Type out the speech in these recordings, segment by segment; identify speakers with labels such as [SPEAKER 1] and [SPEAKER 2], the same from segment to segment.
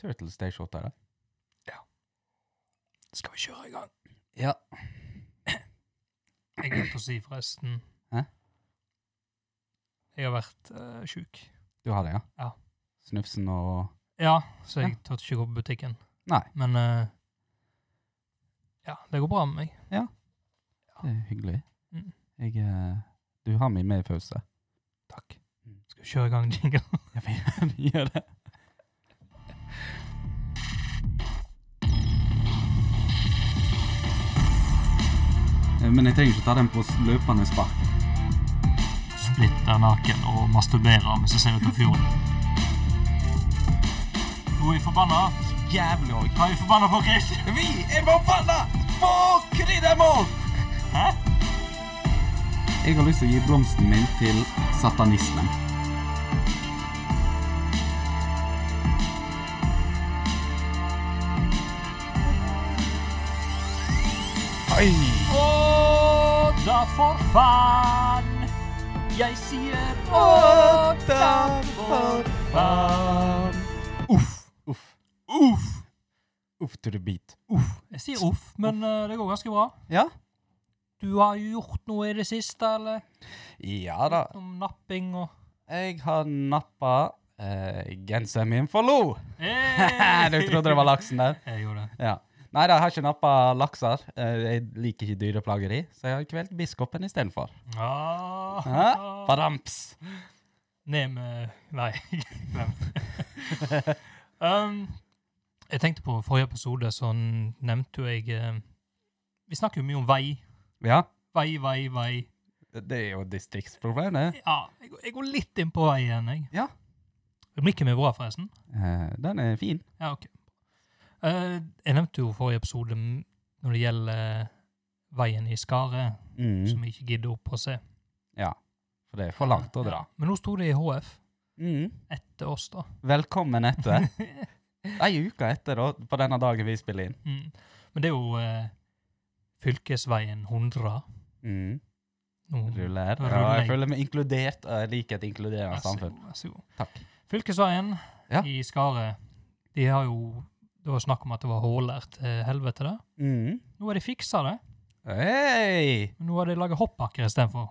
[SPEAKER 1] Turtles de shota der.
[SPEAKER 2] Skal vi kjøre i gang?
[SPEAKER 1] Ja.
[SPEAKER 2] Jeg glemte å si forresten
[SPEAKER 1] Hæ?
[SPEAKER 2] Jeg har vært uh, sjuk.
[SPEAKER 1] Du har det, ja?
[SPEAKER 2] Ja.
[SPEAKER 1] Snufsen og
[SPEAKER 2] Ja, så jeg tør ikke gå på butikken.
[SPEAKER 1] Nei.
[SPEAKER 2] Men eh, ja, det går bra med meg.
[SPEAKER 1] Det er hyggelig.
[SPEAKER 2] Mm.
[SPEAKER 1] Jeg eh, Du har meg med i pause. Takk.
[SPEAKER 2] Skal vi kjøre i gang jingle?
[SPEAKER 1] Ja, vi, vi gjør det. Eh, Men jeg trenger ikke ta den på løpende spark.
[SPEAKER 2] Splitter naken og masturberer mens jeg ser ut av fjorden. Nå er jeg forbanna.
[SPEAKER 1] Jævlig òg.
[SPEAKER 2] Hva er jeg forbanna på, Chris?
[SPEAKER 1] Vi er forbanna på kryddermål!
[SPEAKER 2] Hæ?
[SPEAKER 1] Jeg har lyst til å gi blomsten min til satanismen. Oi!
[SPEAKER 2] Å, da for faen. Jeg sier å, da for faen. Uff.
[SPEAKER 1] Uff.
[SPEAKER 2] Uff.
[SPEAKER 1] Uff to the beat.
[SPEAKER 2] Uff. Jeg sier uff, men eh, det går ganske bra.
[SPEAKER 1] Ja?
[SPEAKER 2] Du har jo gjort noe i det siste, eller?
[SPEAKER 1] Ja da.
[SPEAKER 2] Om napping og
[SPEAKER 1] Jeg har nappa eh, genseren min for lo.
[SPEAKER 2] hey!
[SPEAKER 1] du trodde det var laksen der?
[SPEAKER 2] Jeg gjorde det.
[SPEAKER 1] Ja. Nei da, jeg har ikke nappa lakser. Eh, jeg liker ikke dyreplageri, så jeg har kvelt biskopen istedenfor.
[SPEAKER 2] Ah.
[SPEAKER 1] Hæ? Badamps!
[SPEAKER 2] Ned med Nei, glem det. um, jeg tenkte på forrige episode, så nevnte jo jeg eh, Vi snakker jo mye om vei.
[SPEAKER 1] Ja,
[SPEAKER 2] Vei, vei, vei.
[SPEAKER 1] det er jo distriktsproblem, det.
[SPEAKER 2] Ja, jeg, går- jeg går litt inn på vei igjen, jeg.
[SPEAKER 1] Ja.
[SPEAKER 2] Rubrikken min er bra, forresten.
[SPEAKER 1] Eh, den er fin.
[SPEAKER 2] Ja, OK. Eh, jeg nevnte jo forrige episode m- når det gjelder veien i Skaret, som
[SPEAKER 1] Mm.
[SPEAKER 2] jeg ikke gidder opp å se.
[SPEAKER 1] For det er for langt å dra.
[SPEAKER 2] Ja, Men nå sto det i HF
[SPEAKER 1] Mm.
[SPEAKER 2] etter oss, da.
[SPEAKER 1] Velkommen etter. Ei uke etter, da, på denne dagen vi spiller inn.
[SPEAKER 2] Mm. Men det er jo eh, fylkesveien 100.
[SPEAKER 1] Mm.
[SPEAKER 2] Nå-
[SPEAKER 1] Ruller.
[SPEAKER 2] Da
[SPEAKER 1] Ja,
[SPEAKER 2] ruller
[SPEAKER 1] jeg
[SPEAKER 2] jeg.
[SPEAKER 1] føler meg inkludert, og jeg liker et inkluderende
[SPEAKER 2] Vær så
[SPEAKER 1] samfunn.
[SPEAKER 2] god, vær så god.
[SPEAKER 1] Takk.
[SPEAKER 2] Fylkesveien
[SPEAKER 1] Ja.
[SPEAKER 2] i Skaret, de har jo Det var snakk om at det var huller til helvete der.
[SPEAKER 1] Mm.
[SPEAKER 2] Nå har de fiksa det.
[SPEAKER 1] Hei!
[SPEAKER 2] men Nå har de laga hoppbakker istedenfor.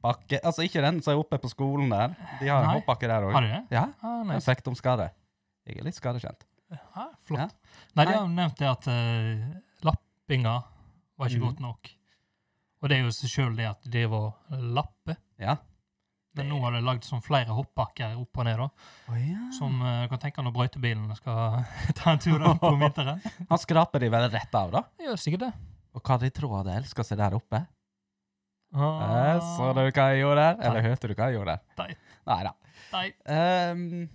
[SPEAKER 1] Bakke, altså ikke den som er oppe på skolen der. De har en
[SPEAKER 2] Nei.
[SPEAKER 1] hoppbakke der
[SPEAKER 2] Har
[SPEAKER 1] òg.
[SPEAKER 2] de det?
[SPEAKER 1] Ja,
[SPEAKER 2] Ah, nei.
[SPEAKER 1] perfekt om skade. Jeg er litt skadekjent.
[SPEAKER 2] Ja, flott.
[SPEAKER 1] Ja.
[SPEAKER 2] Nei, de
[SPEAKER 1] Nei.
[SPEAKER 2] har jo nevnt det at eh, lappinga var ikke
[SPEAKER 1] Mhm.
[SPEAKER 2] godt nok. Og det er jo seg sjøl det at de var lappe.
[SPEAKER 1] Ja.
[SPEAKER 2] Men nå har de lagd sånn flere hoppbakker opp og ned, da.
[SPEAKER 1] Å ja.
[SPEAKER 2] Som eh, du kan tenke når brøytebilene skal ta en tur der oppe om vinteren.
[SPEAKER 1] Han skraper de vel rett av, da.
[SPEAKER 2] Det gjør sikkert det.
[SPEAKER 1] Og hva de tror de elsker seg der oppe. Eh,
[SPEAKER 2] Ah,
[SPEAKER 1] så du hva jeg gjorde der? Eller hørte du hva jeg gjorde der?
[SPEAKER 2] Teit.
[SPEAKER 1] Nei da.
[SPEAKER 2] Nei.
[SPEAKER 1] Ehm,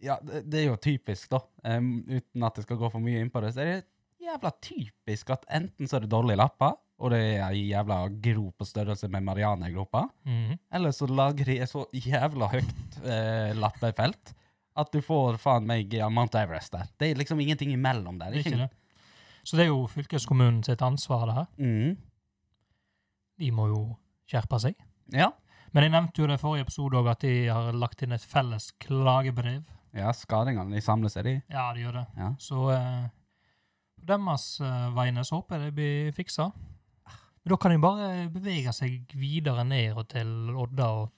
[SPEAKER 1] ja, det, det er jo typisk, da. Ehm, uten at jeg skal gå for mye inn på det, så er det jævla typisk at enten så er det dårlige lapper, og det er ei jævla grop på størrelse med Marianegropa,
[SPEAKER 2] Mhm.
[SPEAKER 1] eller så lager de et så jævla høyt eh, lappefelt at du får faen meg ja, Mount Everest der. Det er liksom ingenting imellom der.
[SPEAKER 2] Det er ikke det. Så det er jo fylkeskommunen sitt ansvar, det her.
[SPEAKER 1] Mm.
[SPEAKER 2] De må jo skjerpe seg.
[SPEAKER 1] Ja.
[SPEAKER 2] Men jeg nevnte jo det i forrige episode òg, at de har lagt inn et felles klagebrev.
[SPEAKER 1] ja, skadingene de samler seg, de.
[SPEAKER 2] Ja, de gjør det.
[SPEAKER 1] Ja.
[SPEAKER 2] Så eh, på deres eh, vegne så håper jeg det blir fiksa. Men da kan de bare bevege seg videre ned og til Odda og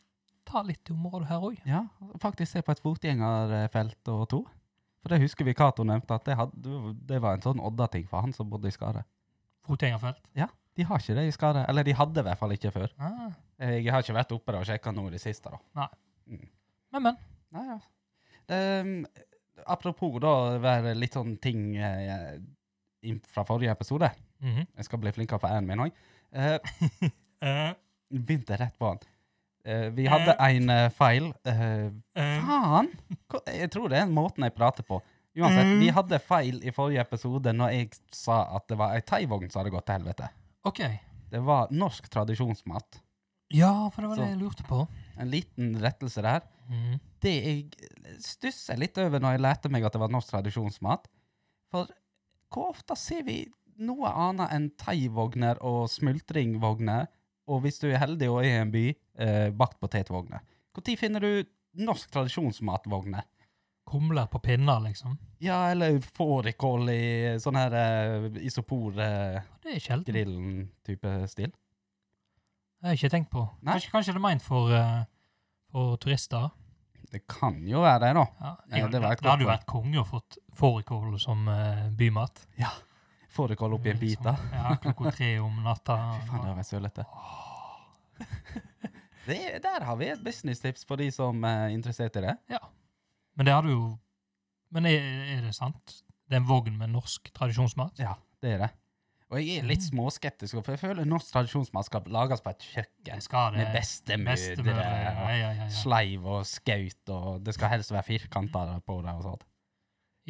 [SPEAKER 2] ta litt i området her òg.
[SPEAKER 1] Ja, faktisk se på et fotgjengerfelt og to. For det husker vi Cato nevnte, at det, hadde, det var en sånn Odda-ting for han som bodde i Skare.
[SPEAKER 2] Fotgjengerfelt.
[SPEAKER 1] De har ikke det i Skare. Eller de hadde i hvert fall ikke før.
[SPEAKER 2] Ah.
[SPEAKER 1] Jeg har ikke vært oppe der og sjekka noe i det siste, da.
[SPEAKER 2] Men, men.
[SPEAKER 1] Nei, ja. Ehm, apropos da være litt sånn ting eh, inn fra forrige episode.
[SPEAKER 2] Mhm.
[SPEAKER 1] Jeg skal bli flinkere på æren min òg.
[SPEAKER 2] Eh,
[SPEAKER 1] begynte rett på han. Eh, vi hadde en eh, feil. eh,
[SPEAKER 2] eh,
[SPEAKER 1] Faen! Hva- Jeg tror det er måten jeg prater på. Uansett, vi hadde feil i forrige episode når jeg sa at det var ei thaivogn som hadde gått til helvete.
[SPEAKER 2] OK.
[SPEAKER 1] Det var norsk tradisjonsmat.
[SPEAKER 2] Ja, for det var
[SPEAKER 1] Så-
[SPEAKER 2] det jeg lurte på.
[SPEAKER 1] En liten rettelse der.
[SPEAKER 2] Mhm.
[SPEAKER 1] Det jeg stusser litt over når jeg lærte meg at det var norsk tradisjonsmat, for hvor ofte ser vi noe annet enn thaivogner og smultringvogner, og hvis du er heldig og er i en by, eh, bakt potetvogner? Når finner du norsk tradisjonsmatvogner?
[SPEAKER 2] Humler på pinner, liksom.
[SPEAKER 1] Ja, eller fårikål i sånn her uh, isoporgrillen-type
[SPEAKER 2] Det er sjelden. Det
[SPEAKER 1] stil.
[SPEAKER 2] har jeg ikke tenkt på.
[SPEAKER 1] Nei.
[SPEAKER 2] Kanskje, kanskje det er ment for, eh, for turister.
[SPEAKER 1] Det kan jo være det, da.
[SPEAKER 2] Ja,
[SPEAKER 1] Ja, det
[SPEAKER 2] det,
[SPEAKER 1] var et godt
[SPEAKER 2] hadde jo vært konge å fått fårikål som eh, bymat.
[SPEAKER 1] Fårikål oppi en bit, da.
[SPEAKER 2] Som- Ja, klokka tre om natta.
[SPEAKER 1] Fy faen, det har vært sølete. Det, der har vi et businesstips for de som er interessert i det.
[SPEAKER 2] Men det hadde jo Men er, er det sant? Det er en vogn med norsk tradisjonsmat?
[SPEAKER 1] Ja, det er det. Og jeg er litt småskeptisk, for jeg føler norsk tradisjonsmat skal lages på et
[SPEAKER 2] Jeg
[SPEAKER 1] kjøkken
[SPEAKER 2] skal det.
[SPEAKER 1] med bestemødre.
[SPEAKER 2] Bestemødre. Ja,
[SPEAKER 1] og
[SPEAKER 2] ja, ja, ja.
[SPEAKER 1] Sleiv og skaut, og det skal helst være firkanter på det og sånt.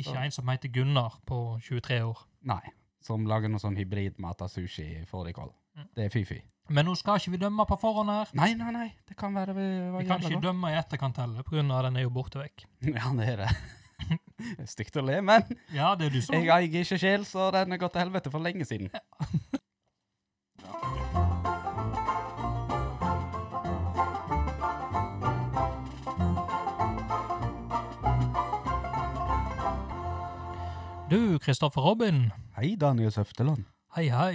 [SPEAKER 2] Ikke en som heter Gunnar på 23 år.
[SPEAKER 1] Nei, som lager noe sånn hybridmat av sushi fårikål. Det er fy-fy.
[SPEAKER 2] Men nå skal ikke vi dømme på forhånd her.
[SPEAKER 1] Nei, nei, nei, det kan være eh, vi var
[SPEAKER 2] Vi kan
[SPEAKER 1] jævla
[SPEAKER 2] ikke
[SPEAKER 1] godt.
[SPEAKER 2] dømme i etterkant heller, pga. den er jo borte vekk.
[SPEAKER 1] Ja, det er det. Det er Stygt å le, men
[SPEAKER 2] Ja, det er du som
[SPEAKER 1] jeg eier ikke sjel, så den er gått til helvete for lenge siden.
[SPEAKER 2] Du, Kristoffer Robin.
[SPEAKER 1] Hei, Daniel Søfteland.
[SPEAKER 2] Hei, hei.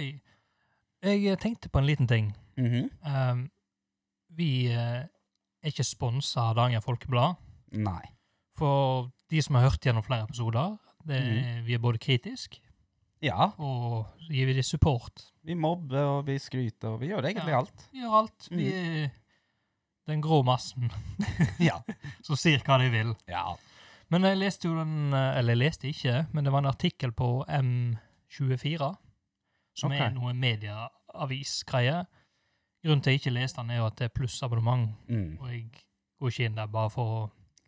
[SPEAKER 2] Jeg eh, tenkte på en liten ting.
[SPEAKER 1] Mhm.
[SPEAKER 2] Um, vi eh, er ikke sponsa av Dagen Folkeblad.
[SPEAKER 1] Nei.
[SPEAKER 2] For de som har hørt gjennom flere episoder, det, er- vi er både kritisk
[SPEAKER 1] Ja,
[SPEAKER 2] og gir vi dem support.
[SPEAKER 1] vi mobber og vi skryter, og vi gjør egentlig
[SPEAKER 2] Ja.
[SPEAKER 1] alt.
[SPEAKER 2] Vi gjør alt. Vi er den grå massen
[SPEAKER 1] Ja.
[SPEAKER 2] som sier hva de vil.
[SPEAKER 1] ja.
[SPEAKER 2] Men jeg leste jo den eh, Eller jeg leste ikke, men det var en artikkel på M24, som
[SPEAKER 1] Ok.
[SPEAKER 2] er noe medieavisgreie. Grunnen til jeg ikke leste den, er jo at det er plussabonnement,
[SPEAKER 1] Mm.
[SPEAKER 2] og jeg går ikke inn der bare for å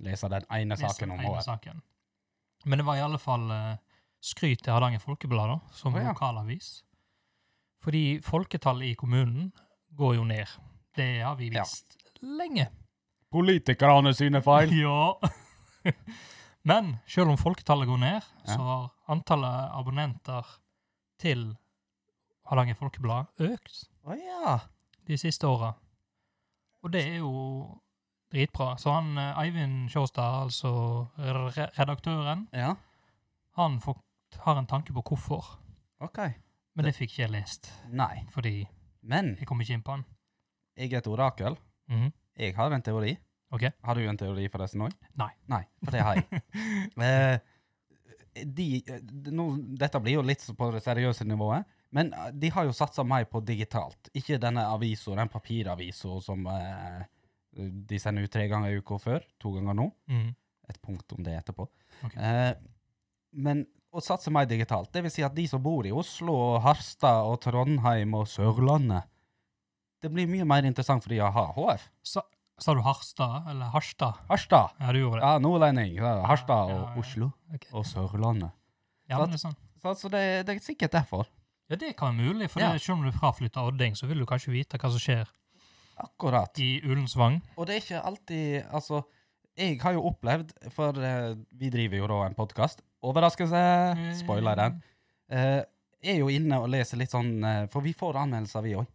[SPEAKER 1] Lese den ene saken om
[SPEAKER 2] Lese den ene
[SPEAKER 1] HR.
[SPEAKER 2] saken. Men det var i alle fall eh, skryt til Hardanger Folkeblad, da, som
[SPEAKER 1] Å, ja.
[SPEAKER 2] lokalavis. Fordi folketallet i kommunen går jo ned. Det har vi
[SPEAKER 1] Ja.
[SPEAKER 2] visst lenge.
[SPEAKER 1] Politikerne sine feil.
[SPEAKER 2] Ja. Men selv om folketallet går ned,
[SPEAKER 1] Ja.
[SPEAKER 2] så har antallet abonnenter til Hardanger Folkeblad økt
[SPEAKER 1] Å ja.
[SPEAKER 2] de siste åra. Og det er jo dritbra. Så han eh, Eivind Sjåstad, altså re- redaktøren,
[SPEAKER 1] Ja,
[SPEAKER 2] han får, har en tanke på hvorfor,
[SPEAKER 1] ok.
[SPEAKER 2] men det fikk ikke jeg lest,
[SPEAKER 1] Nei.
[SPEAKER 2] fordi
[SPEAKER 1] Men
[SPEAKER 2] jeg kom ikke inn på den.
[SPEAKER 1] jeg er et orakel.
[SPEAKER 2] Mhm.
[SPEAKER 1] Jeg har en teori.
[SPEAKER 2] Ok.
[SPEAKER 1] Har du en teori forresten òg?
[SPEAKER 2] Nei.
[SPEAKER 1] Nei, for det har jeg. eh, de, eh, nå, dette blir jo litt så på det seriøse nivået, men eh, de har jo satsa mer på digitalt. Ikke denne avisa, den papiravisa som eh, de sender ut tre ganger i uka før. To ganger nå.
[SPEAKER 2] Mhm.
[SPEAKER 1] et punkt om det etterpå.
[SPEAKER 2] Ok.
[SPEAKER 1] Eh, men å satse mer digitalt, det vil si at de som bor i Oslo og Harstad og Trondheim og Sørlandet, det blir mye mer interessant for de å ha HF.
[SPEAKER 2] Sa, sa du Harstad, eller Harstad?
[SPEAKER 1] Harstad!
[SPEAKER 2] Ja, du gjorde det.
[SPEAKER 1] Ja, nordlending. ja, Harstad
[SPEAKER 2] Ja,
[SPEAKER 1] og
[SPEAKER 2] ja, ja.
[SPEAKER 1] Oslo
[SPEAKER 2] Ok.
[SPEAKER 1] og Sørlandet.
[SPEAKER 2] Ja, men det, er sånn.
[SPEAKER 1] Så altså, det, det er sikkert derfor.
[SPEAKER 2] ja, det kan være mulig, for
[SPEAKER 1] Ja.
[SPEAKER 2] det, selv om du fraflytter Odding, så vil du kanskje vite hva som skjer
[SPEAKER 1] Akkurat.
[SPEAKER 2] i Ullensvang.
[SPEAKER 1] Og det er ikke alltid Altså, jeg har jo opplevd, for eh, vi driver jo da en podkast Overraskelse! Spoiler den. Eh, er jo inne og leser litt sånn eh, For vi får anmeldelser, vi òg.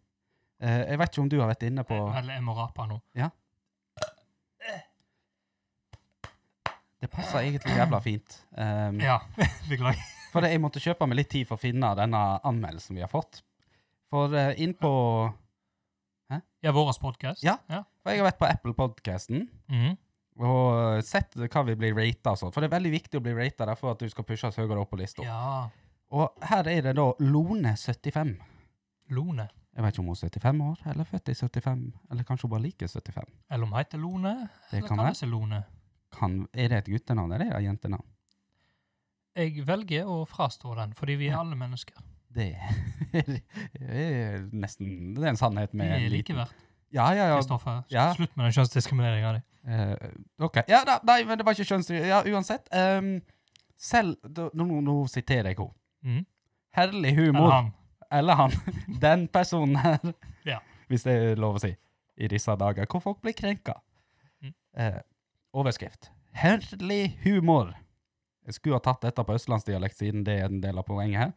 [SPEAKER 1] jeg vet ikke om du har vært inne på
[SPEAKER 2] Nei, Vel, jeg må rape nå.
[SPEAKER 1] Det passer egentlig jævla fint. Um,
[SPEAKER 2] Ja, beklager.
[SPEAKER 1] For jeg måtte kjøpe meg litt tid for å finne denne anmeldelsen vi har fått. For eh, inn på
[SPEAKER 2] Ja, våres podcast.
[SPEAKER 1] Ja.
[SPEAKER 2] ja.
[SPEAKER 1] For jeg har vært på Apple-podkasten
[SPEAKER 2] Mhm.
[SPEAKER 1] og eh, sett hva vi blir rata og sånn. For det er veldig viktig å bli rata der for at du skal pushes høyere opp på lista.
[SPEAKER 2] ja.
[SPEAKER 1] Og her er det da Lone75.
[SPEAKER 2] Lone.
[SPEAKER 1] Jeg vet ikke om hun er 75 år, eller født i 75, eller kanskje hun bare liker 75.
[SPEAKER 2] Eller om hun heter Lone,
[SPEAKER 1] Det
[SPEAKER 2] eller
[SPEAKER 1] kan
[SPEAKER 2] kaller
[SPEAKER 1] være.
[SPEAKER 2] seg Lone.
[SPEAKER 1] Kan, er det et guttenavn, eller er det et jentenavn?
[SPEAKER 2] Jeg velger å frastå den, fordi vi er
[SPEAKER 1] Ja.
[SPEAKER 2] alle mennesker.
[SPEAKER 1] Det er nesten Det er en sannhet
[SPEAKER 2] Vi
[SPEAKER 1] med
[SPEAKER 2] er
[SPEAKER 1] en liten-
[SPEAKER 2] likeverdige.
[SPEAKER 1] Ja, ja, ja.
[SPEAKER 2] Kristoffer, s-
[SPEAKER 1] Ja.
[SPEAKER 2] slutt med den kjønnsdiskrimineringa di.
[SPEAKER 1] Eh, OK. Ja, da, nei, men det var ikke kjønnsstyre. Ja, uansett. ehm, selv da- Nå, nå, nå siterer jeg henne.
[SPEAKER 2] Mhm.
[SPEAKER 1] Herlig
[SPEAKER 2] Eller
[SPEAKER 1] humor.
[SPEAKER 2] han.
[SPEAKER 1] Eller han. Den personen her.
[SPEAKER 2] Ja.
[SPEAKER 1] Hvis det er lov å si. I disse dager hvor folk blir krenka.
[SPEAKER 2] Mm.
[SPEAKER 1] Eh, overskrift. Herlig humor. Jeg skulle ha tatt dette på østlandsdialekt siden det er en del av poenget her.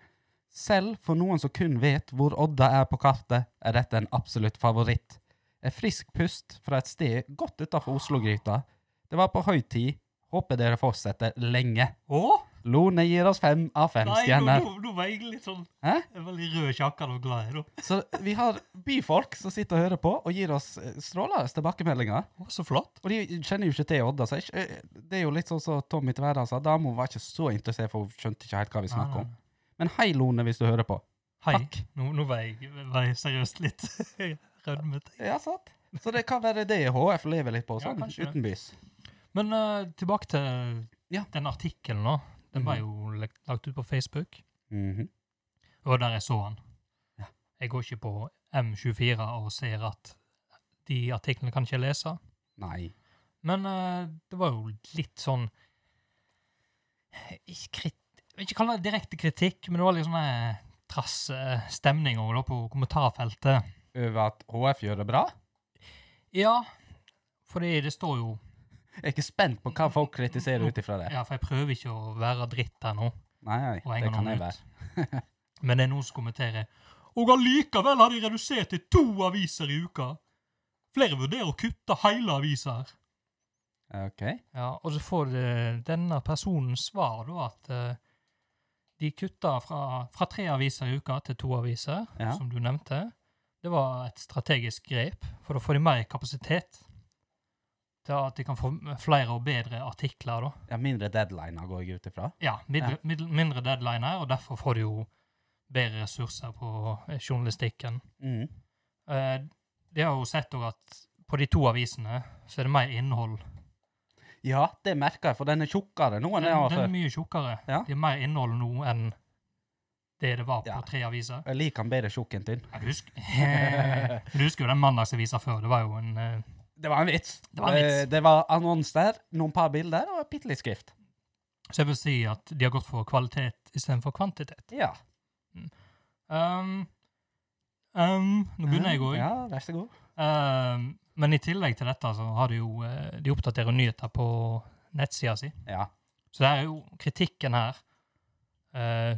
[SPEAKER 1] Selv for noen som kun vet hvor Odda er på kartet, er dette en absolutt favoritt. Et frisk pust fra et sted godt utenfor Oslo-gryta. Det var på høy tid, Håper dere fortsetter lenge.
[SPEAKER 2] Å?
[SPEAKER 1] Lone gir oss fem av fem
[SPEAKER 2] Nei, nå,
[SPEAKER 1] stjerner.
[SPEAKER 2] nå, nå var jeg litt sånn
[SPEAKER 1] Hæ?
[SPEAKER 2] Jeg var litt rød i sjakken og glad. jeg, da.
[SPEAKER 1] Så vi har byfolk som sitter og hører på, og gir oss eh, strålende tilbakemeldinger.
[SPEAKER 2] Å, så flott.
[SPEAKER 1] Og de kjenner jo ikke til Odda. Så jeg, eh, det er jo litt sånn som Tommy til hverdagen sa. Dama var ikke så interessert, for hun skjønte ikke helt hva vi snakket om. Men hei, Lone, hvis du hører på.
[SPEAKER 2] Hei.
[SPEAKER 1] Takk.
[SPEAKER 2] Nå, nå var, jeg, var jeg seriøst litt rødmet. jeg.
[SPEAKER 1] Ja, sant? Så det kan være det HF lever litt på,
[SPEAKER 2] Ja,
[SPEAKER 1] sånn
[SPEAKER 2] kanskje det.
[SPEAKER 1] utenbys.
[SPEAKER 2] Men eh, tilbake til
[SPEAKER 1] Ja.
[SPEAKER 2] den artikkelen nå. Den var
[SPEAKER 1] Mhm.
[SPEAKER 2] jo lagt, lagt ut på Facebook,
[SPEAKER 1] Mhm.
[SPEAKER 2] og der jeg så den.
[SPEAKER 1] Ja.
[SPEAKER 2] Jeg går ikke på M24 og ser at de artiklene kan ikke jeg lese.
[SPEAKER 1] Nei.
[SPEAKER 2] Men eh, det var jo litt sånn Ikke, krit, jeg vil ikke kalle det direkte kritikk, men det var litt sånn eh, trass eh, stemning over da på kommentarfeltet.
[SPEAKER 1] Over at HF gjør det bra?
[SPEAKER 2] Ja, fordi det står jo
[SPEAKER 1] Jeg er ikke spent på hva folk kritiserer ut ifra det.
[SPEAKER 2] Ja, for jeg prøver ikke å være dritt her nå.
[SPEAKER 1] Nei, nei, det
[SPEAKER 2] og henger
[SPEAKER 1] kan jeg
[SPEAKER 2] noen
[SPEAKER 1] være.
[SPEAKER 2] ut. Men det er noen som kommenterer Og allikevel har de redusert til to aviser i uka. Flere vurderer å kutte hele aviser.
[SPEAKER 1] Ok.
[SPEAKER 2] Ja, og så får eh, denne personen svar da at eh, de kutta fra, fra tre aviser i uka til to aviser,
[SPEAKER 1] Ja.
[SPEAKER 2] som du nevnte. Det var et strategisk grep, for da får de mer kapasitet til at de kan få flere og bedre artikler. da.
[SPEAKER 1] Ja, mindre deadliner går jeg ut ifra.
[SPEAKER 2] Ja, middel, middel, mindre deadline her, og derfor får du jo bedre ressurser på eh, journalistikken.
[SPEAKER 1] Mhm.
[SPEAKER 2] Eh, De har jo sett også at på de to avisene så er det mer innhold.
[SPEAKER 1] Ja, det merker jeg, for den er tjukkere nå enn
[SPEAKER 2] Den,
[SPEAKER 1] den var
[SPEAKER 2] den er
[SPEAKER 1] før.
[SPEAKER 2] mye tjukkere.
[SPEAKER 1] Ja.
[SPEAKER 2] Det er mer innhold nå enn det det var på
[SPEAKER 1] Ja.
[SPEAKER 2] tre aviser.
[SPEAKER 1] Jeg liker den bedre tjukk enn tynn.
[SPEAKER 2] Ja, du, husker, du husker jo den mandagsavisa før. Det var jo en eh,
[SPEAKER 1] Det var en vits.
[SPEAKER 2] Det var en vits.
[SPEAKER 1] Eh, Det var annons der, noen par bilder og bitte litt skrift.
[SPEAKER 2] Så jeg vil si at de har gått for kvalitet istedenfor kvantitet.
[SPEAKER 1] Ja.
[SPEAKER 2] Um, um, nå begynner jeg òg.
[SPEAKER 1] Ja, vær så god.
[SPEAKER 2] Ehm, men i tillegg til dette så har de jo eh, de oppdaterer nyheter på nettsida si.
[SPEAKER 1] Ja.
[SPEAKER 2] Så det er jo kritikken her eh,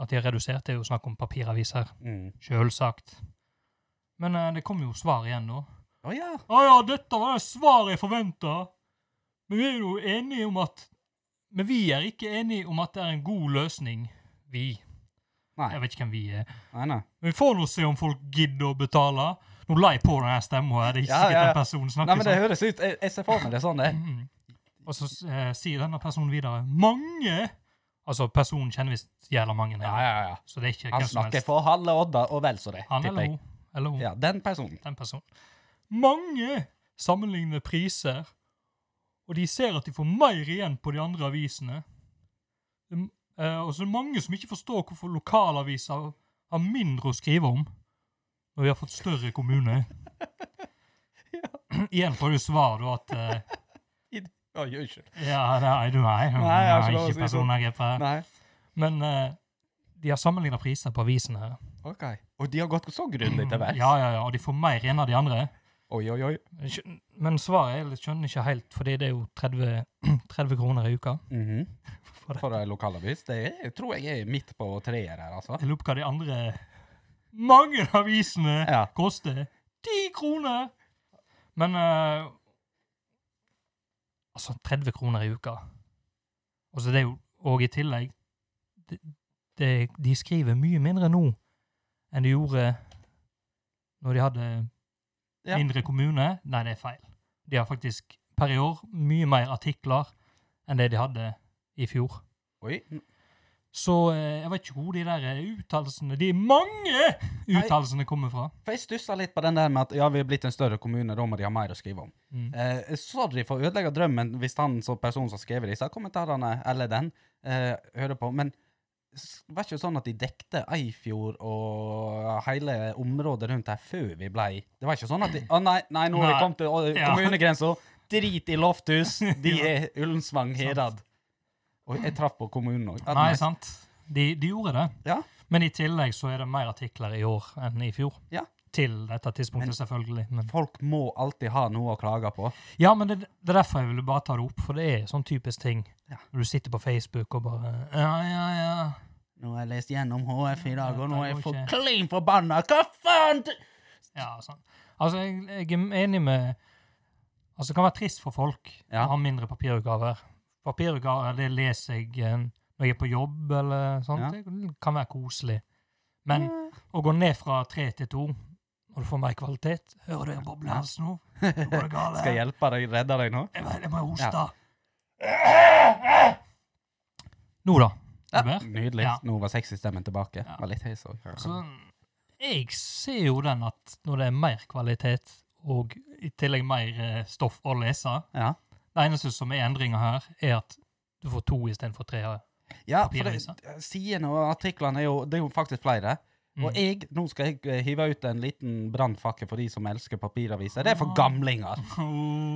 [SPEAKER 2] At de har redusert, det er jo snakk om papiraviser.
[SPEAKER 1] Mm.
[SPEAKER 2] Sjølsagt. Men eh, det kom jo svar igjen, da.
[SPEAKER 1] Å ja.
[SPEAKER 2] Å ja, dette var det svaret jeg forventa. Men vi er jo enige om at Men vi er ikke enige om at det er en god løsning. Vi.
[SPEAKER 1] Nei.
[SPEAKER 2] Jeg vet ikke hvem vi er.
[SPEAKER 1] Nei, nei.
[SPEAKER 2] Men vi får nå se om folk gidder å betale. Nå la jeg på denne stemma her. Det er ikke
[SPEAKER 1] Ja,
[SPEAKER 2] sikkert
[SPEAKER 1] ja, ja.
[SPEAKER 2] den personen
[SPEAKER 1] Nei,
[SPEAKER 2] snakker
[SPEAKER 1] men det høres ut Jeg, jeg ser for meg det er sånn, det.
[SPEAKER 2] sånn. Og så eh, sier denne personen videre Mange! Altså, personen kjenner visst jævla mange. her.
[SPEAKER 1] Ja, ja, ja.
[SPEAKER 2] Så det er ikke
[SPEAKER 1] Han
[SPEAKER 2] hvem som
[SPEAKER 1] snakker
[SPEAKER 2] helst.
[SPEAKER 1] for halve Odda og vel så det,
[SPEAKER 2] Han
[SPEAKER 1] tipper
[SPEAKER 2] eller
[SPEAKER 1] jeg.
[SPEAKER 2] hun. Eller hun.
[SPEAKER 1] Ja, den personen.
[SPEAKER 2] Den personen. Mange sammenligner priser, og de ser at de får mer igjen på de andre avisene. Det er m- eh, Og så er det mange som ikke forstår hvorfor lokalaviser har mindre å skrive om når vi har fått større kommune. Igjen får du svar da at eh,
[SPEAKER 1] Oi, unnskyld.
[SPEAKER 2] Ja, nei, du, nei, nei,
[SPEAKER 1] Nei, jeg har ikke
[SPEAKER 2] nei
[SPEAKER 1] lov å si
[SPEAKER 2] ikke
[SPEAKER 1] sånn.
[SPEAKER 2] personangrep her.
[SPEAKER 1] Nei.
[SPEAKER 2] Men eh, de har sammenligna priser på avisene her.
[SPEAKER 1] OK. Og de har gått så grundig til verks.
[SPEAKER 2] Ja, ja, ja, og de får mer igjen av de andre.
[SPEAKER 1] Oi, oi, oi.
[SPEAKER 2] Skjøn- Men svaret er, jeg skjønner ikke helt, fordi det er jo 30, 30 kroner i uka.
[SPEAKER 1] Mhm.
[SPEAKER 2] For det.
[SPEAKER 1] For ei lokalavis. Det er, jeg tror jeg er midt på treer her, altså.
[SPEAKER 2] Jeg lurer på hva de andre mange avisene
[SPEAKER 1] Ja.
[SPEAKER 2] koster. Ti kroner! Men eh, Altså, 30 kroner i uka. Altså, det er jo Og i tillegg det, det, De skriver mye mindre nå enn de gjorde når de hadde
[SPEAKER 1] Ja.
[SPEAKER 2] mindre kommune. Nei, det er feil. De har faktisk per i år mye mer artikler enn det de hadde i fjor.
[SPEAKER 1] Oi.
[SPEAKER 2] Så eh, jeg vet ikke hvor de der eh, uttalelsene De mange uttalelsene kommer fra.
[SPEAKER 1] For jeg stussa litt på den der med at ja, vi er blitt en større kommune, da må de ha mer å skrive om.
[SPEAKER 2] Mm.
[SPEAKER 1] Eh, sorry for å ødelegge drømmen hvis han som person som skrev disse kommentarene, eller den, eh, hører på, men s- var ikke sånn at de dekte Eifjord og hele området rundt her før vi blei Det var ikke sånn at de Å nei, nei, nå har vi
[SPEAKER 2] Nei.
[SPEAKER 1] kommet til å-
[SPEAKER 2] Ja.
[SPEAKER 1] kommunegrensa. Drit i Lofthus, de
[SPEAKER 2] Ja.
[SPEAKER 1] er Ullensvang Herad. Og jeg traff på kommunen òg.
[SPEAKER 2] Nei, sant. De, de gjorde det.
[SPEAKER 1] Ja.
[SPEAKER 2] Men i tillegg så er det mer artikler i år enn i fjor.
[SPEAKER 1] Ja.
[SPEAKER 2] Til dette tidspunktet, selvfølgelig. Men,
[SPEAKER 1] Folk må alltid ha noe å klage på.
[SPEAKER 2] ja, men det, det er derfor jeg ville bare ta det opp, for det er sånn typisk ting.
[SPEAKER 1] Ja.
[SPEAKER 2] Når du sitter på Facebook og bare Ja, ja, ja.
[SPEAKER 1] Nå har jeg lest gjennom HF i dag, og nå er jeg
[SPEAKER 2] Dette
[SPEAKER 1] for
[SPEAKER 2] går ikke.
[SPEAKER 1] klin forbanna! Hva faen?!
[SPEAKER 2] ja sånn. Altså, jeg, jeg er enig med Altså, det kan være trist for folk
[SPEAKER 1] Ja.
[SPEAKER 2] å ha mindre papirutgaver. Papirutgaver det leser jeg eh, når jeg er på jobb, eller sånt.
[SPEAKER 1] Ja.
[SPEAKER 2] Det kan være koselig. Men
[SPEAKER 1] Eh,
[SPEAKER 2] å gå ned fra tre til to, og du får mer kvalitet Hører du en boble hans nå? Nå går det galt. eh.
[SPEAKER 1] Skal jeg hjelpe deg, redde deg nå?
[SPEAKER 2] Jeg må- jeg må hoste. Nå, da. Er du
[SPEAKER 1] Ja,
[SPEAKER 2] med?
[SPEAKER 1] nydelig.
[SPEAKER 2] Ja.
[SPEAKER 1] Nå var sexystemmen tilbake.
[SPEAKER 2] Ja.
[SPEAKER 1] Var litt høy, så.
[SPEAKER 2] Så jeg ser jo den at når det er mer kvalitet, og i tillegg mer eh, stoff å lese
[SPEAKER 1] Ja.
[SPEAKER 2] Det eneste som er endringa her, er at du får to istedenfor tre.
[SPEAKER 1] Ja, for
[SPEAKER 2] Papiraviser.
[SPEAKER 1] det, sidene og artiklene er jo, det er jo faktisk flere.
[SPEAKER 2] Mm.
[SPEAKER 1] Og jeg, nå skal jeg eh, hive ut en liten brannfakke for de som elsker papiraviser. Det er
[SPEAKER 2] Ah.
[SPEAKER 1] for gamlinger.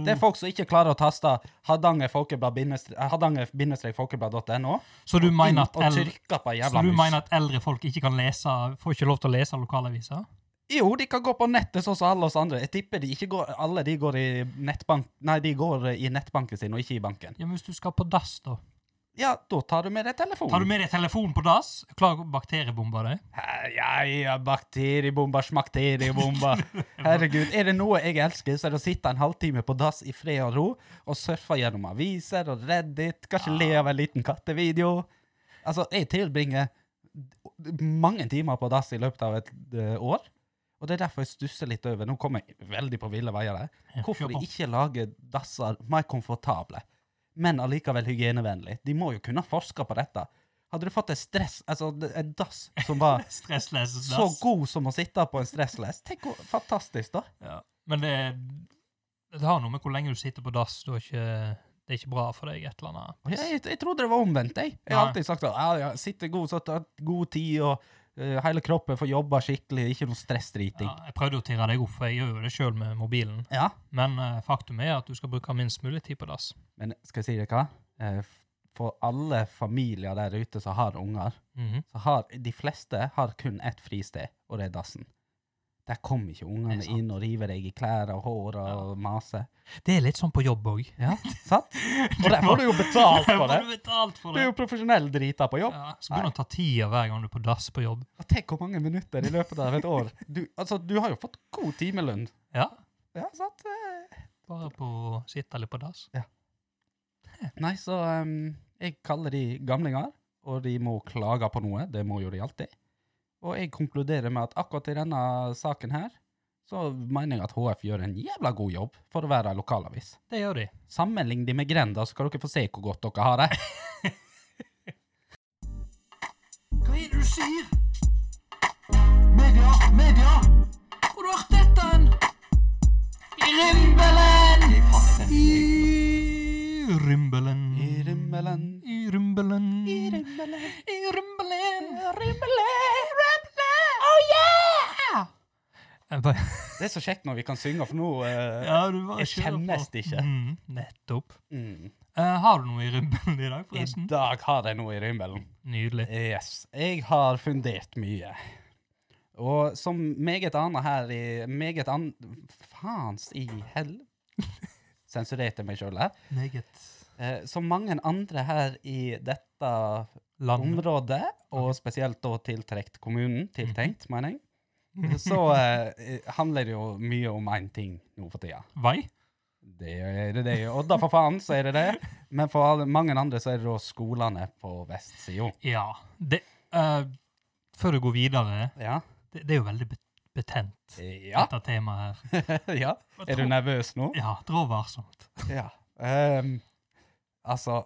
[SPEAKER 1] Det er folk som ikke klarer å taste hardangerfolkeblad-folkeblad.no.
[SPEAKER 2] Så du mener at,
[SPEAKER 1] Og
[SPEAKER 2] eldre,
[SPEAKER 1] trykker på en
[SPEAKER 2] så
[SPEAKER 1] jævla
[SPEAKER 2] du
[SPEAKER 1] mus.
[SPEAKER 2] mener at eldre folk ikke kan lese, får ikke lov til å lese lokalaviser?
[SPEAKER 1] Jo, de kan gå på nettet sånn som alle oss andre. Jeg tipper de ikke går, alle de går i nettbank... Nei, de går i nettbanken sin, og ikke i banken.
[SPEAKER 2] Ja, men hvis du skal på dass, da?
[SPEAKER 1] Ja, da tar du med deg telefonen.
[SPEAKER 2] Tar du med deg telefonen på dass? Klarer å bakteriebombe deg?
[SPEAKER 1] Hæ, Ja, ja, bakteriebomber, smakteriebomber. Herregud, er det noe jeg elsker, så er det å sitte en halvtime på dass i fred og ro og surfe gjennom aviser og Reddit, kanskje le av en liten kattevideo. Altså, jeg tilbringer d- mange timer på dass i løpet av et eh, år, og det er derfor jeg stusser litt over. Nå kommer jeg veldig på ville veier her.
[SPEAKER 2] Ja,
[SPEAKER 1] Hvorfor
[SPEAKER 2] kjør på.
[SPEAKER 1] ikke lage dasser mer komfortable, men allikevel hygienevennlig? De må jo kunne forske på dette. Hadde du fått en stress, altså en dass som var
[SPEAKER 2] Stresslesende
[SPEAKER 1] så
[SPEAKER 2] dass.
[SPEAKER 1] god som å sitte på en stressless. Tenk hvor fantastisk, da.
[SPEAKER 2] Ja. Men det, det har noe med hvor lenge du sitter på dass. Du har ikke, det er ikke bra for deg, et eller annet.
[SPEAKER 1] Jeg, jeg, jeg trodde det var omvendt, jeg. Jeg har
[SPEAKER 2] Nei.
[SPEAKER 1] alltid sagt at ja, ja, sitte god, så ta god tid, og eh, hele kroppen får jobba skikkelig, ikke noe stressdriting.
[SPEAKER 2] Ja, jeg prøvde å tirre deg opp, for jeg gjør jo det sjøl med mobilen.
[SPEAKER 1] Ja.
[SPEAKER 2] Men eh, faktum er at du skal bruke minst mulig tid på dass.
[SPEAKER 1] Men skal jeg si deg hva? Eh, f- For alle familier der ute som har unger,
[SPEAKER 2] Mhm.
[SPEAKER 1] så har de fleste har kun ett fristed, og det er dassen. Der kommer ikke
[SPEAKER 2] Det
[SPEAKER 1] ungene
[SPEAKER 2] er sant.
[SPEAKER 1] inn og river deg i klær og hår og maser.
[SPEAKER 2] Det er litt sånn på jobb òg.
[SPEAKER 1] Ja, sant? Og der får du jo betalt for det!
[SPEAKER 2] Du betalt for
[SPEAKER 1] Du er
[SPEAKER 2] det.
[SPEAKER 1] jo profesjonell drita på jobb.
[SPEAKER 2] Ja, så begynner det å ta tida hver gang du er på dass på jobb.
[SPEAKER 1] Og Tenk hvor mange minutter i løpet av et år. Du, altså, du har jo fått god timelønn.
[SPEAKER 2] Ja,
[SPEAKER 1] Ja, sant? Eh,
[SPEAKER 2] bare på å sitte litt på dass.
[SPEAKER 1] Nei, så em, jeg kaller de gamlinger, og de må klage på noe. Det må jo de alltid. Og jeg konkluderer med at akkurat i denne saken her, så mener jeg at HF gjør en jævla god jobb for å være en lokalavis.
[SPEAKER 2] Det gjør de.
[SPEAKER 1] Sammenlign de med grenda, så skal dere få se hvor godt dere har det.
[SPEAKER 3] Hva er det du sier? Media, media! Hvor har du hørt dette hen? I rimbelen!
[SPEAKER 2] I rymbelen.
[SPEAKER 1] I rimmelen,
[SPEAKER 2] I rymbelen.
[SPEAKER 1] i rimmelen,
[SPEAKER 2] I rymbelen.
[SPEAKER 1] rimmelen, rimmelen!
[SPEAKER 2] Jeg bare-
[SPEAKER 1] Det er så kjekt når vi kan synge, for nå eh,
[SPEAKER 2] Ja, du bare
[SPEAKER 1] Jeg
[SPEAKER 2] kjører
[SPEAKER 1] kjennes
[SPEAKER 2] på.
[SPEAKER 1] det ikke.
[SPEAKER 2] Mm, nettopp.
[SPEAKER 1] mm.
[SPEAKER 2] Eh, har du noe i rymbelen i dag,
[SPEAKER 1] I
[SPEAKER 2] forresten?
[SPEAKER 1] dag har jeg noe i rimmelen.
[SPEAKER 2] Nydelig.
[SPEAKER 1] Yes. Jeg har fundert mye. Og som meget annet her i Meget an... Faens i hell... Sensurerte meg sjøl her.
[SPEAKER 2] Meget.
[SPEAKER 1] Eh, som mange andre her i dette
[SPEAKER 2] Land.
[SPEAKER 1] området, og spesielt da tiltrekt kommunen, tiltenkt, mener jeg, så eh, handler det jo mye om én ting nå for tida.
[SPEAKER 2] Vei?
[SPEAKER 1] Det er det, det er Odda, for faen, så er det det. Men for alle, mange andre så er det da skolene på vestsida.
[SPEAKER 2] Ja. Det, eh, før du går videre,
[SPEAKER 1] Ja.
[SPEAKER 2] det, det er jo veldig bet- betent,
[SPEAKER 1] Ja.
[SPEAKER 2] dette temaet her.
[SPEAKER 1] ja. Er du nervøs nå?
[SPEAKER 2] Ja, drå varsomt.
[SPEAKER 1] Ja. Ehm, altså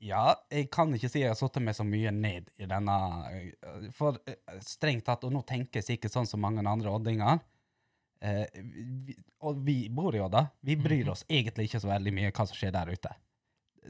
[SPEAKER 1] Ja, jeg kan ikke si jeg har sittet meg så mye ned i denne eh, For eh, strengt tatt, og nå tenker jeg sikkert sånn som mange andre oddinger eh, vi, Og vi bor i Odda. Vi bryr oss egentlig ikke så veldig mye hva som skjer der ute.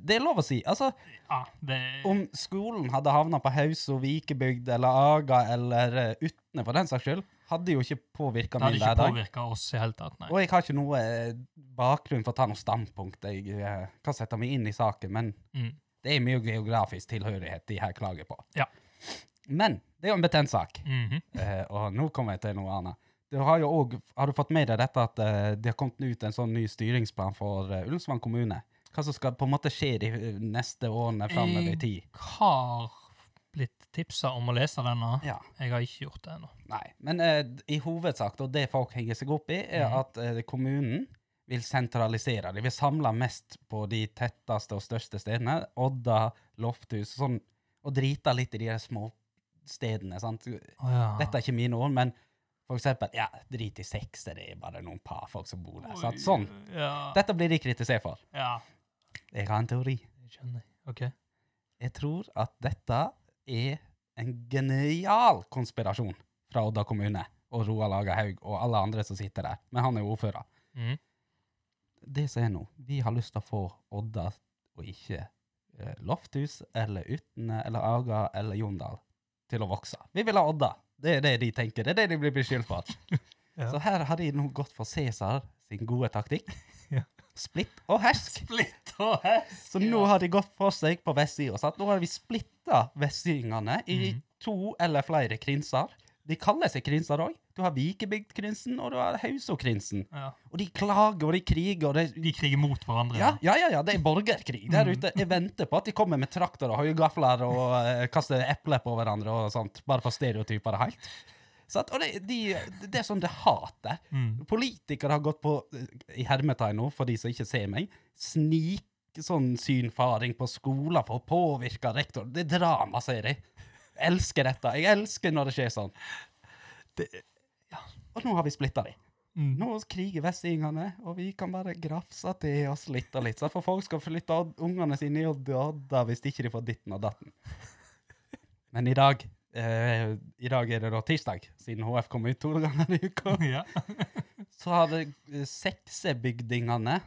[SPEAKER 1] Det er lov å si. Altså,
[SPEAKER 2] Ja, det
[SPEAKER 1] om skolen hadde havna på Haus og Vikebygd eller Aga eller eh, Utne, for den saks skyld, hadde jo ikke påvirka
[SPEAKER 2] det hadde
[SPEAKER 1] min
[SPEAKER 2] ikke
[SPEAKER 1] hverdag.
[SPEAKER 2] påvirka oss i hele tatt, nei.
[SPEAKER 1] Og jeg har ikke noe eh, bakgrunn for å ta noe standpunkt. Jeg eh, kan sette meg inn i saken, men
[SPEAKER 2] Mm.
[SPEAKER 1] det er mye geografisk tilhørighet de her klager på.
[SPEAKER 2] Ja.
[SPEAKER 1] Men det er jo en betent sak,
[SPEAKER 2] Mhm.
[SPEAKER 1] eh, og nå kommer jeg til noe annet. Du har jo òg Har du fått med deg dette at eh, det har kommet ut en sånn ny styringsplan for eh, Ullensvang kommune? Hva som skal på en måte skje de eh, neste årene framover i tid?
[SPEAKER 2] Jeg har blitt tipsa om å lese denne.
[SPEAKER 1] Ja.
[SPEAKER 2] Jeg har ikke gjort det ennå.
[SPEAKER 1] Nei, men eh, d- i hovedsak, og det folk henger seg opp i, er
[SPEAKER 2] Mhm.
[SPEAKER 1] at eh, kommunen vil sentralisere. De vil samle mest på de tetteste og største stedene. Odda, Lofthus og sånn. Og drite litt i de her små stedene. sant?
[SPEAKER 2] Å ja.
[SPEAKER 1] Dette er ikke mine ord, men for eksempel ja, drit i sex, det er bare noen par folk som bor der. sant? Sånn.
[SPEAKER 2] Ja.
[SPEAKER 1] Dette blir de kritisert for.
[SPEAKER 2] ja.
[SPEAKER 1] Jeg har en teori.
[SPEAKER 2] Jeg skjønner. OK.
[SPEAKER 1] Jeg tror at dette er en genial konspirasjon fra Odda kommune og Roald Aga Haug og alle andre som sitter der. Men han er jo ordfører.
[SPEAKER 2] Mhm.
[SPEAKER 1] Det som er nå, vi har lyst til å få Odda og ikke eh, Lofthus eller Utne eller Aga eller Jondal til å vokse. Vi vil ha Odda. Det er det de tenker. Det er det de blir beskyldt for.
[SPEAKER 2] Ja.
[SPEAKER 1] Så her har de nå gått for Cæsar sin gode taktikk.
[SPEAKER 2] Ja.
[SPEAKER 1] Splitt og hersk.
[SPEAKER 2] Splitt og hest!
[SPEAKER 1] Så nå har de gått for seg på vestsida. sant? Nå har vi splitta vestsyngene i
[SPEAKER 2] Mhm.
[SPEAKER 1] to eller flere krinser. De kaller seg krinser òg. Du har Vikebygdkrinsen og du har Hausåkrinsen.
[SPEAKER 2] Ja.
[SPEAKER 1] Og de klager og de kriger. og de...
[SPEAKER 2] De kriger mot hverandre.
[SPEAKER 1] Ja, ja, ja, ja, det er borgerkrig der ute. Jeg venter på at de kommer med traktor og høygafler og eh, kaster epler på hverandre og sånt, bare for stereotyper det helt. Sant? og det, de, det er sånn det hater.
[SPEAKER 2] Mm.
[SPEAKER 1] Politikere har gått på, eh, i hermetegn nå, for de som ikke ser meg, snik sånn synfaring på skoler for å påvirke rektor. Det er drama, sier de. Jeg elsker dette. Jeg elsker når det skjer sånn.
[SPEAKER 2] Det-
[SPEAKER 1] Og nå har vi splitta de.
[SPEAKER 2] Mm.
[SPEAKER 1] Nå kriger vestingene, og vi kan bare grafse til oss litt og litt. sant? For folk skal flytte odd- ungene sine i Odd- Odda hvis ikke de får ditten og datten. Men i dag eh, I dag er det da tirsdag, siden HF kom ut to ganger i uka.
[SPEAKER 2] Ja.
[SPEAKER 1] Så har det eh, seksebygdingene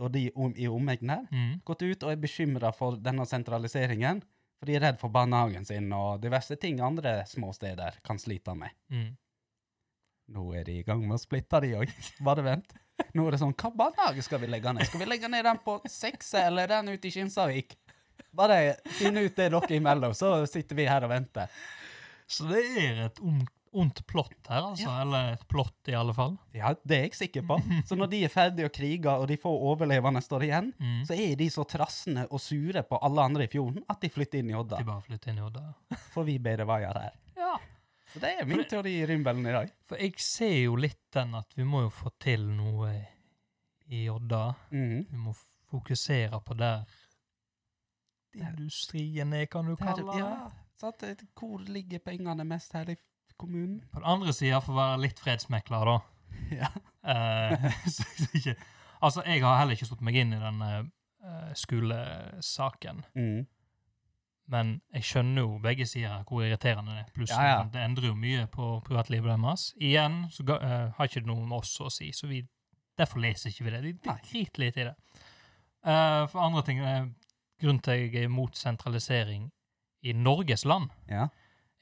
[SPEAKER 1] og de om, i omegn her
[SPEAKER 2] Mm.
[SPEAKER 1] gått ut og er bekymra for denne sentraliseringen. For de er redd for barnehagen sin og diverse ting andre små steder kan slite med.
[SPEAKER 2] Mm.
[SPEAKER 1] Nå er de i gang med å splitte de òg. Bare vent. Nå er det sånn, hva barnehage skal vi legge ned? Skal vi legge ned den på Sekse eller den ute i Kinsarvik? Bare finn ut det dere imellom, så sitter vi her og venter.
[SPEAKER 2] Så det er et om- ondt plott her, altså. Eller et plott, i alle fall.
[SPEAKER 1] Ja, det er jeg sikker på. Så når de er ferdige å krige, og de få overlevende står igjen,
[SPEAKER 2] Mm.
[SPEAKER 1] så er de så trassende og sure på alle andre i fjorden at de flytter inn i Odda.
[SPEAKER 2] De bare flytter inn i Odda.
[SPEAKER 1] Får vi bedre veier her.
[SPEAKER 2] Ja.
[SPEAKER 1] Så det er min teori i Rymbelen i dag.
[SPEAKER 2] For jeg ser jo litt den at vi må jo få til noe i Odda.
[SPEAKER 1] Mhm.
[SPEAKER 2] Vi må f- fokusere på der industrien er, kan du
[SPEAKER 1] Det er,
[SPEAKER 2] kalle det.
[SPEAKER 1] ja, sant? Hvor ligger pengene mest her i kommunen?
[SPEAKER 2] På den andre sida, for å være litt fredsmekler, da
[SPEAKER 1] Ja.
[SPEAKER 2] eh, så, så ikke, Altså, jeg har heller ikke satt meg inn i den eh, skolesaken.
[SPEAKER 1] Mhm.
[SPEAKER 2] Men jeg skjønner jo begge sider her, hvor irriterende det er. Pluss
[SPEAKER 1] Ja, ja.
[SPEAKER 2] det endrer jo mye på privatlivet deres. Igjen så ga, eh, har ikke det noe med oss å si, så vi, derfor leser ikke vi det. Vi
[SPEAKER 1] Nei.
[SPEAKER 2] driter litt i det. Eh, for andre ting, eh, grunnen til at jeg er imot sentralisering i Norges land,
[SPEAKER 1] Ja.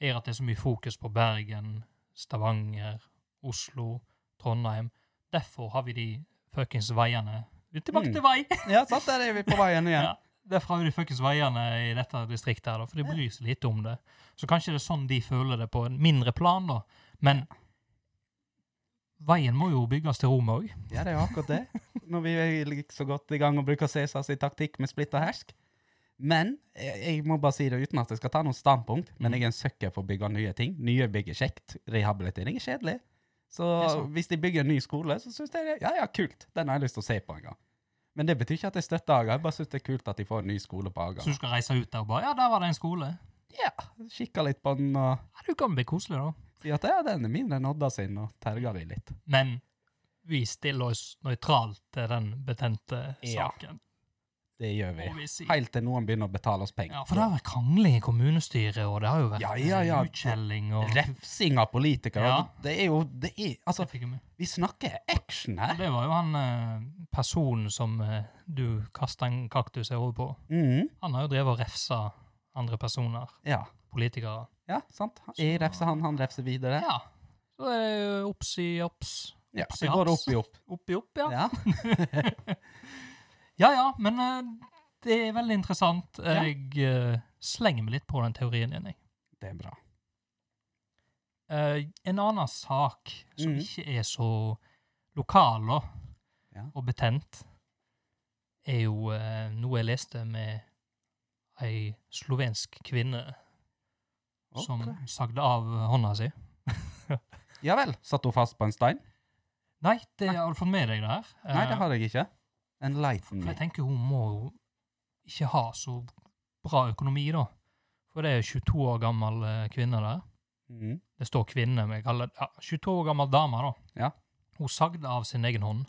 [SPEAKER 2] er at det er så mye fokus på Bergen, Stavanger, Oslo, Trondheim. Derfor har vi de fuckings veiene. Vi er Tilbake
[SPEAKER 1] Mm.
[SPEAKER 2] til vei!
[SPEAKER 1] Ja, sant, der er vi på veien igjen.
[SPEAKER 2] Ja. Derfor har vi de fuckings veiene i dette distriktet, her, da, for de bryr seg lite om det. Så kanskje det er sånn de føler det på en mindre plan, da. Men veien må jo bygges til Roma òg.
[SPEAKER 1] Ja, det er jo akkurat det. Når vi er like så godt i gang og bruker Cæsar sin taktikk med splitt og hersk. Men jeg, jeg må bare si det uten at jeg skal ta noe standpunkt, men jeg er en søkker for å bygge nye ting. Nye bygg er kjekt. Rehabilitering er kjedelig. Så
[SPEAKER 2] Det er sant.
[SPEAKER 1] hvis de bygger en ny skole, så syns jeg det ja, ja, kult. Den har jeg lyst til å se på en gang. Men det betyr ikke at jeg støtter Aga. Jeg bare syns det er kult at de får en ny skole på Aga.
[SPEAKER 2] Så du skal reise ut der og bare Ja, der var det en skole.
[SPEAKER 1] Ja, Kikke litt på den og
[SPEAKER 2] Ja, Du kan bli koselig, da.
[SPEAKER 1] si at ja, den er mindre enn Odda sin, og terge de litt.
[SPEAKER 2] Men vi stiller oss nøytralt til den betente
[SPEAKER 1] Ja.
[SPEAKER 2] saken.
[SPEAKER 1] Det gjør vi.
[SPEAKER 2] må vi si.
[SPEAKER 1] Helt til noen begynner å betale oss penger.
[SPEAKER 2] Ja, For det har vært krangling i kommunestyret, og det har jo vært eh,
[SPEAKER 1] Ja, ja, ja.
[SPEAKER 2] utskjelling og
[SPEAKER 1] refsing av politikere.
[SPEAKER 2] Ja.
[SPEAKER 1] Det er jo det er, Altså,
[SPEAKER 2] Jeg fikk jo med.
[SPEAKER 1] vi snakker action
[SPEAKER 2] Og
[SPEAKER 1] her.
[SPEAKER 2] Det var jo han eh, personen som eh, du kasta en kaktus i hodet på.
[SPEAKER 1] Mhm,
[SPEAKER 2] Han har jo drevet og refsa andre personer,
[SPEAKER 1] ja.
[SPEAKER 2] politikere.
[SPEAKER 1] ja, sant. Jeg refser han, han refser videre.
[SPEAKER 2] Ja. Så er det jo opps i opps.
[SPEAKER 1] Ja,
[SPEAKER 2] opps
[SPEAKER 1] det går opp i opp.
[SPEAKER 2] Opp i opp, ja.
[SPEAKER 1] Ja.
[SPEAKER 2] Ja ja, men eh, det er veldig interessant.
[SPEAKER 1] Ja.
[SPEAKER 2] Jeg eh, slenger meg litt på den teorien din, jeg.
[SPEAKER 1] Det er bra.
[SPEAKER 2] Eh, en annen sak som
[SPEAKER 1] Mhm.
[SPEAKER 2] ikke er så lokal da,
[SPEAKER 1] Ja.
[SPEAKER 2] og betent, er jo eh, noe jeg leste med ei slovensk kvinne som
[SPEAKER 1] Ok.
[SPEAKER 2] sagde av hånda si.
[SPEAKER 1] Ja vel. Satt hun fast på en stein?
[SPEAKER 2] Nei, det, har du fått med deg det her? Eh,
[SPEAKER 1] Nei, det har jeg ikke. Enlighten
[SPEAKER 2] For
[SPEAKER 1] me.
[SPEAKER 2] jeg tenker hun må jo ikke ha så bra økonomi, da. For det er 22 år gammel eh, kvinne der.
[SPEAKER 1] Mm.
[SPEAKER 2] Det står kvinne, men jeg kaller det ja, 22 år gammel dame, da.
[SPEAKER 1] Ja.
[SPEAKER 2] Hun sagde av sin egen hånd.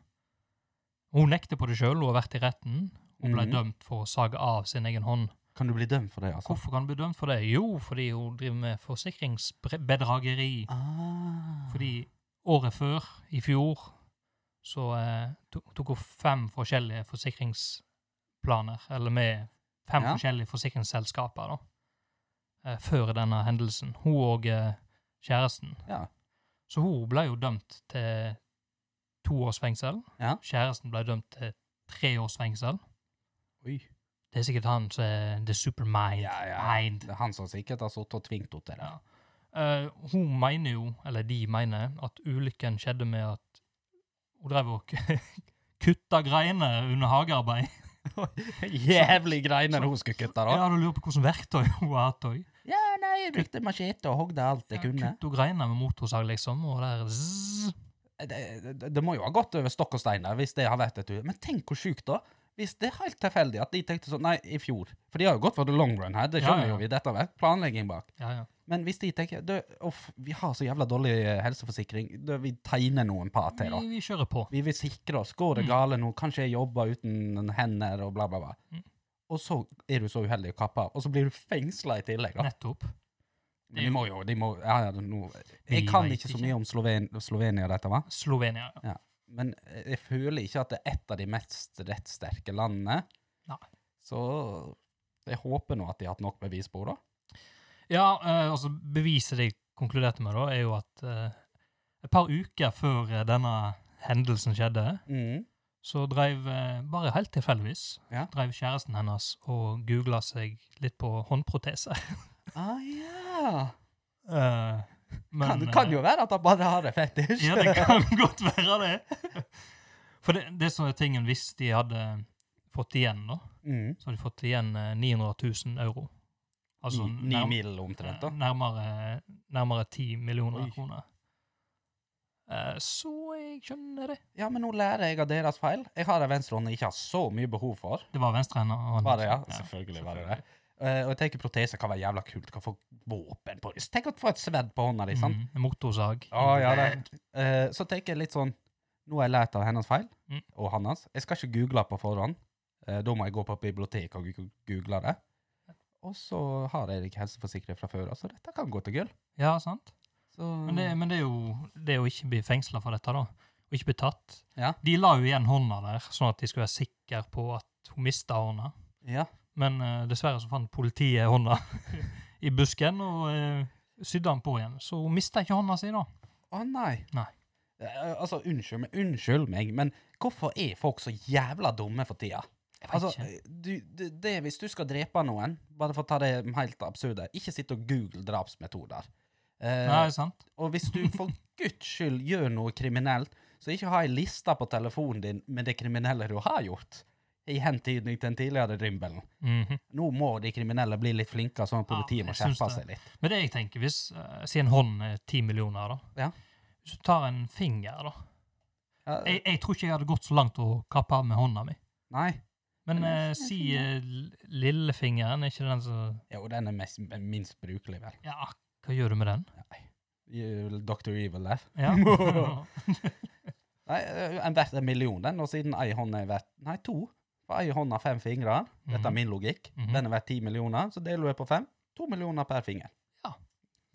[SPEAKER 2] Hun nekter på det sjøl, hun har vært i retten. Hun ble
[SPEAKER 1] Mhm.
[SPEAKER 2] dømt for å sage av sin egen hånd.
[SPEAKER 1] Kan du bli dømt for det, altså?
[SPEAKER 2] Hvorfor kan hun bli dømt for det? Jo, fordi hun driver med forsikringsbedrageri.
[SPEAKER 1] Ah.
[SPEAKER 2] Fordi året før, i fjor, så eh, to- tok hun fem forskjellige forsikringsplaner, eller med fem
[SPEAKER 1] Ja.
[SPEAKER 2] forskjellige forsikringsselskaper, da, eh, før denne hendelsen. Hun og eh, kjæresten.
[SPEAKER 1] Ja.
[SPEAKER 2] Så hun ble jo dømt til to års fengsel.
[SPEAKER 1] Ja.
[SPEAKER 2] Kjæresten ble dømt til tre års fengsel.
[SPEAKER 1] Oi.
[SPEAKER 2] Det er sikkert han som er the supermind.
[SPEAKER 1] Ja, ja.
[SPEAKER 2] Mind.
[SPEAKER 1] Det er han som sikkert har sittet og tvingt henne til det.
[SPEAKER 2] Ja. Eh, hun mener jo, eller de mener, at ulykken skjedde med at hun drev og k- kutta greiner under hagearbeid.
[SPEAKER 1] Jævlig greiner hun skulle kutte, da.
[SPEAKER 2] Jeg hadde lurt på hvordan verktøy hun har hatt òg.
[SPEAKER 1] Ja, nei, jeg brukte machete og hogde alt jeg kunne.
[SPEAKER 2] Kutta greiner med motorsag, liksom, og der zzz.
[SPEAKER 1] Det, det, det må jo ha gått over stokk og stein der, hvis det har vært et uhell. Men tenk hvor sjukt, da. Hvis det er helt tilfeldig at de tenkte sånn Nei, i fjor. For de har jo gått for the long run her, det
[SPEAKER 2] Ja,
[SPEAKER 1] skjønner
[SPEAKER 2] ja.
[SPEAKER 1] jo vi. Dette har vært planlegging bak.
[SPEAKER 2] Ja, ja.
[SPEAKER 1] Men hvis de tenker du, Uff, vi har så jævla dårlig eh, helseforsikring. Du, vi tegner noen par til, da.
[SPEAKER 2] Vi, vi kjører på.
[SPEAKER 1] Vi vil sikre oss. Går det
[SPEAKER 2] Mm.
[SPEAKER 1] gale nå? Kanskje jeg jobber uten hender og bla, bla, bla.
[SPEAKER 2] Mm.
[SPEAKER 1] Og så er du så uheldig å kappe av, og så blir du fengsla i tillegg. da.
[SPEAKER 2] Nettopp.
[SPEAKER 1] Men De må jo de må, ja, ja, nå-
[SPEAKER 2] Vi
[SPEAKER 1] Jeg kan
[SPEAKER 2] vet
[SPEAKER 1] ikke så
[SPEAKER 2] ikke.
[SPEAKER 1] mye om Sloven, Slovenia, dette, va?
[SPEAKER 2] Slovenia. ja.
[SPEAKER 1] men eh, jeg føler ikke at det er et av de mest rettssterke landene.
[SPEAKER 2] Nei.
[SPEAKER 1] Så jeg håper nå at de har hatt nok bevis på det.
[SPEAKER 2] Ja, eh, altså beviset de konkluderte med, da, er jo at eh, et par uker før eh, denne hendelsen skjedde,
[SPEAKER 1] Mm.
[SPEAKER 2] så dreiv, eh, bare helt tilfeldigvis,
[SPEAKER 1] Ja.
[SPEAKER 2] dreiv kjæresten hennes og googla seg litt på håndproteser.
[SPEAKER 1] Ah, ja.
[SPEAKER 2] Eh, men,
[SPEAKER 1] Kan, kan jo være at han bare har en
[SPEAKER 2] eh,
[SPEAKER 1] fetisj.
[SPEAKER 2] Ja, det kan godt være det. For det, det som er tingen, hvis de hadde fått igjen, da,
[SPEAKER 1] Mm.
[SPEAKER 2] så hadde de fått igjen eh, 900 000 euro. Altså
[SPEAKER 1] Ni- Ni
[SPEAKER 2] nærm-
[SPEAKER 1] mil omtrent, da.
[SPEAKER 2] eh, nærmere, nærmere 10 millioner
[SPEAKER 1] Oi.
[SPEAKER 2] kroner. Eh, så jeg skjønner det.
[SPEAKER 1] Ja, men nå lærer jeg av deres feil. Jeg har en venstrehånd jeg ikke har så mye behov for.
[SPEAKER 2] Det var venstrehenda. og-
[SPEAKER 1] Var det, ja? Selvfølgelig var det det. Eh, og jeg tenker proteser kan være jævla kult. Kan få våpen på det. Tenk å få et sverd på hånda liksom. di, sant?
[SPEAKER 2] Mm, motorsag.
[SPEAKER 1] Å, ja, det. Eh, så tenker jeg litt sånn Nå har jeg lært av hennes feil,
[SPEAKER 2] Mm.
[SPEAKER 1] og hans. Jeg skal ikke google på forhånd. Eh, da må jeg gå på biblioteket og gu- google det. Og så har jeg ikke helseforsikring fra før, så dette kan gå til gull.
[SPEAKER 2] Ja, sant?
[SPEAKER 1] Så
[SPEAKER 2] Men det, men det er jo det å ikke bli fengsla for dette, da. Og ikke bli tatt.
[SPEAKER 1] Ja.
[SPEAKER 2] De la jo igjen hånda der, sånn at de skulle være sikre på at hun mista hånda.
[SPEAKER 1] Ja.
[SPEAKER 2] Men eh, dessverre så fant politiet hånda i busken og eh, sydde den på igjen. Så hun mista ikke hånda si, da.
[SPEAKER 1] Å nei.
[SPEAKER 2] Nei.
[SPEAKER 1] Eh, altså, unnskyld meg, unnskyld meg, men hvorfor er folk så jævla dumme for tida?
[SPEAKER 2] Jeg vet
[SPEAKER 1] Altså,
[SPEAKER 2] ikke.
[SPEAKER 1] du, det, det, hvis du skal drepe noen, bare for å ta det helt absurde, ikke sitt og google drapsmetoder. Eh,
[SPEAKER 2] Nei, sant?
[SPEAKER 1] og hvis du for guds skyld gjør noe kriminelt, så ikke ha ei liste på telefonen din med det kriminelle du har gjort, i hentydning til den tidligere drimbelen.
[SPEAKER 2] Mhm.
[SPEAKER 1] Nå må de kriminelle bli litt flinkere, sånn at
[SPEAKER 2] Ja,
[SPEAKER 1] politiet må
[SPEAKER 2] jeg syns
[SPEAKER 1] skjerpe
[SPEAKER 2] det.
[SPEAKER 1] seg litt.
[SPEAKER 2] Men det jeg tenker, hvis eh, Si en hånd er ti millioner, da.
[SPEAKER 1] Ja.
[SPEAKER 2] Hvis du tar en finger, da.
[SPEAKER 1] Ja,
[SPEAKER 2] Jeg, jeg tror ikke jeg hadde gått så langt å kappe av med hånda mi.
[SPEAKER 1] nei.
[SPEAKER 2] Men
[SPEAKER 1] Men
[SPEAKER 2] eh,
[SPEAKER 1] hvorfor en
[SPEAKER 2] si eh, l- lillefingeren, er ikke den som
[SPEAKER 1] Jo, den er mest, minst brukelig, vel.
[SPEAKER 2] Ja, hva gjør du med den?
[SPEAKER 1] You- Dr. Evil der.
[SPEAKER 2] Ja.
[SPEAKER 1] Nei, eh, en verdt en million, den, og siden ei hånd er verdt Nei, to. For ei hånd har fem fingre. Dette er min logikk.
[SPEAKER 2] Mhm.
[SPEAKER 1] Den er verdt ti millioner, så deler du det på fem. To millioner per finger.
[SPEAKER 2] Ja.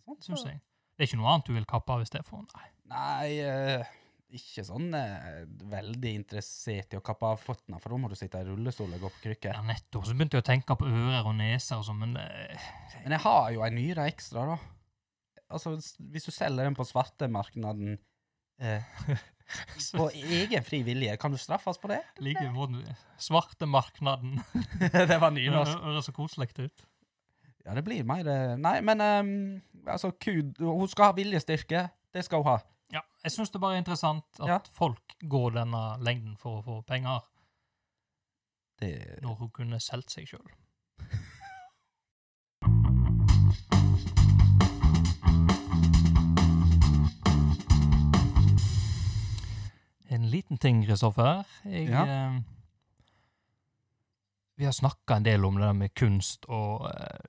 [SPEAKER 1] Sånn,
[SPEAKER 2] Syns
[SPEAKER 1] så.
[SPEAKER 2] jeg. Det er ikke noe annet du vil kappe av i stedet for? Nei.
[SPEAKER 1] Nei, eh, ikke sånn eh, veldig interessert i å kappe av føttene, for da må du sitte i rullestol og gå på krykker.
[SPEAKER 2] Ja, nettopp. Så begynte jeg å tenke på ører og neser og sånn, men eh,
[SPEAKER 1] Men jeg har jo ei nyre ekstra, da. Altså, s- hvis du selger den på svartemarkedet eh,
[SPEAKER 2] så,
[SPEAKER 1] på egen fri vilje, kan du straffes på det?
[SPEAKER 2] like måten Svarte marknaden.
[SPEAKER 1] det var
[SPEAKER 2] Det høres så koselig ut.
[SPEAKER 1] Ja, det blir mer eh, Nei, men ehm, altså, kud, hun skal ha viljestyrke. Det skal hun ha.
[SPEAKER 2] Ja, jeg syns det bare er interessant at
[SPEAKER 1] Ja.
[SPEAKER 2] folk går denne lengden for å få penger,
[SPEAKER 1] Det,
[SPEAKER 2] når hun kunne solgt seg sjøl. en liten ting, Kristoffer. Jeg
[SPEAKER 1] Ja.
[SPEAKER 2] eh, Vi har snakka en del om det der med kunst og eh,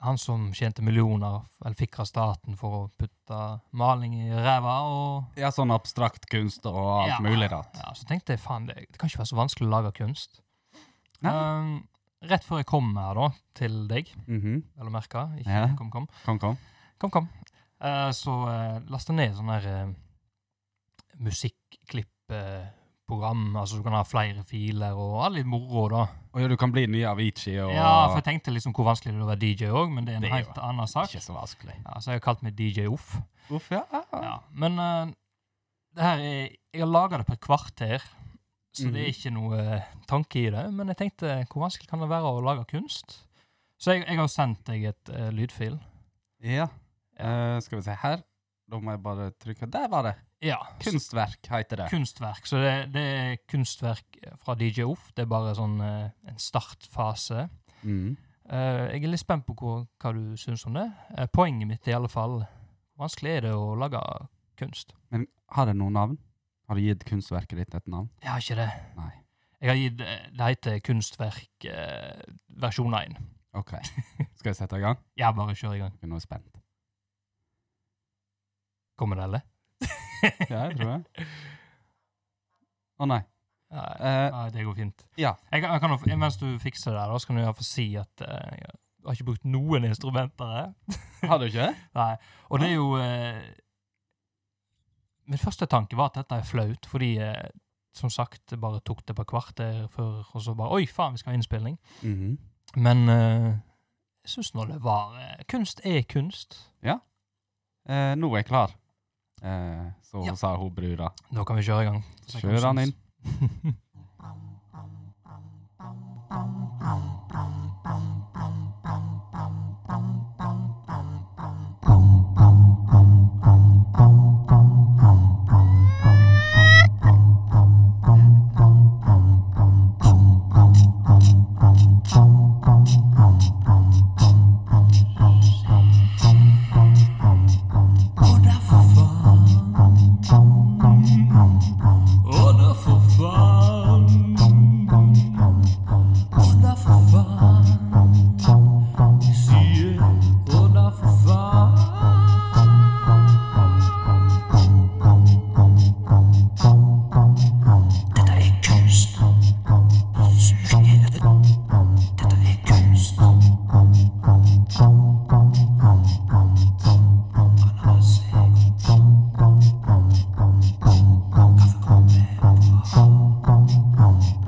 [SPEAKER 2] han som tjente millioner, eller fikk av staten for å putte maling i ræva og
[SPEAKER 1] Ja, sånn abstrakt kunst og alt
[SPEAKER 2] Ja.
[SPEAKER 1] mulig rart.
[SPEAKER 2] Ja, så tenkte jeg, faen, det, det kan ikke være så vanskelig å lage kunst.
[SPEAKER 1] Nei.
[SPEAKER 2] Ehm, rett før jeg kom her da, til deg,
[SPEAKER 1] Mhm.
[SPEAKER 2] eller merka, ikke
[SPEAKER 1] Ja.
[SPEAKER 2] kom, kom,
[SPEAKER 1] Kom, kom.
[SPEAKER 2] kom, kom, eh, så eh, lastet jeg ned sånn her eh, musikkklippeprogram, altså du kan ha flere filer og alle litt moro da.
[SPEAKER 1] Og ja, du kan bli ny Avicii og
[SPEAKER 2] Ja, for jeg tenkte liksom hvor vanskelig det er å være DJ også, men det er en
[SPEAKER 1] Det er jo
[SPEAKER 2] helt annen sak.
[SPEAKER 1] Ikke så vanskelig.
[SPEAKER 2] Ja, så jeg har kalt meg DJ Uff.
[SPEAKER 1] Uff, ja. ja, ja.
[SPEAKER 2] Ja, men eh, det her er, jeg har laga det på et kvarter, så det er
[SPEAKER 1] Mhm.
[SPEAKER 2] ikke noe eh, tanke i det. Men jeg tenkte, hvor vanskelig kan det være å lage kunst? Så jeg, jeg har sendt deg et eh, lydfil.
[SPEAKER 1] Ja. Eh, skal vi se her. Da må jeg bare trykke. Der var det.
[SPEAKER 2] Ja.
[SPEAKER 1] Kunstverk heter det.
[SPEAKER 2] Kunstverk. Så det, det er kunstverk fra DJ Off. Det er bare sånn eh, en startfase.
[SPEAKER 1] Mm.
[SPEAKER 2] Eh, jeg er litt spent på hvor, hva du syns om det. Eh, poenget mitt er i alle fall hvor vanskelig er det å lage kunst?
[SPEAKER 1] Men har det noe navn? Har du gitt kunstverket ditt et navn?
[SPEAKER 2] Jeg har ikke det.
[SPEAKER 1] Nei.
[SPEAKER 2] Jeg har gitt, eh, Det heter Kunstverk eh, versjon 1.
[SPEAKER 1] OK. Skal jeg sette i gang?
[SPEAKER 2] Ja, bare kjør i gang.
[SPEAKER 1] Nå er jeg spent.
[SPEAKER 2] Kommer det, eller?
[SPEAKER 1] Ja, jeg tror det. Å nei.
[SPEAKER 2] Nei,
[SPEAKER 1] Eh,
[SPEAKER 2] nei, det går fint.
[SPEAKER 1] ja.
[SPEAKER 2] Jeg, kan- jeg kan, jo- mens du fikser det, her, da, så kan du i hvert fall si at eh, jeg har ikke brukt noen instrumenter her.
[SPEAKER 1] har du ikke?
[SPEAKER 2] Nei. Og det er jo eh, Min første tanke var at dette er flaut, fordi eh, som sagt, det bare tok det et par kvarter før, og så bare Oi, faen, vi skal ha innspilling.
[SPEAKER 1] Mhm.
[SPEAKER 2] Men eh, jeg syns nå det var eh, Kunst er kunst.
[SPEAKER 1] Eh, nå er jeg klar. Eh, så
[SPEAKER 2] Ja.
[SPEAKER 1] sa hun brura.
[SPEAKER 2] Da kan vi kjøre i gang. Så kan vi
[SPEAKER 1] Kjør han
[SPEAKER 2] synes.
[SPEAKER 1] inn.
[SPEAKER 3] Og derfor faen. Og derfor faen. Og derfor faen. Sier og derfor faen. Dette er kunst. Dette er kunst. Han har seg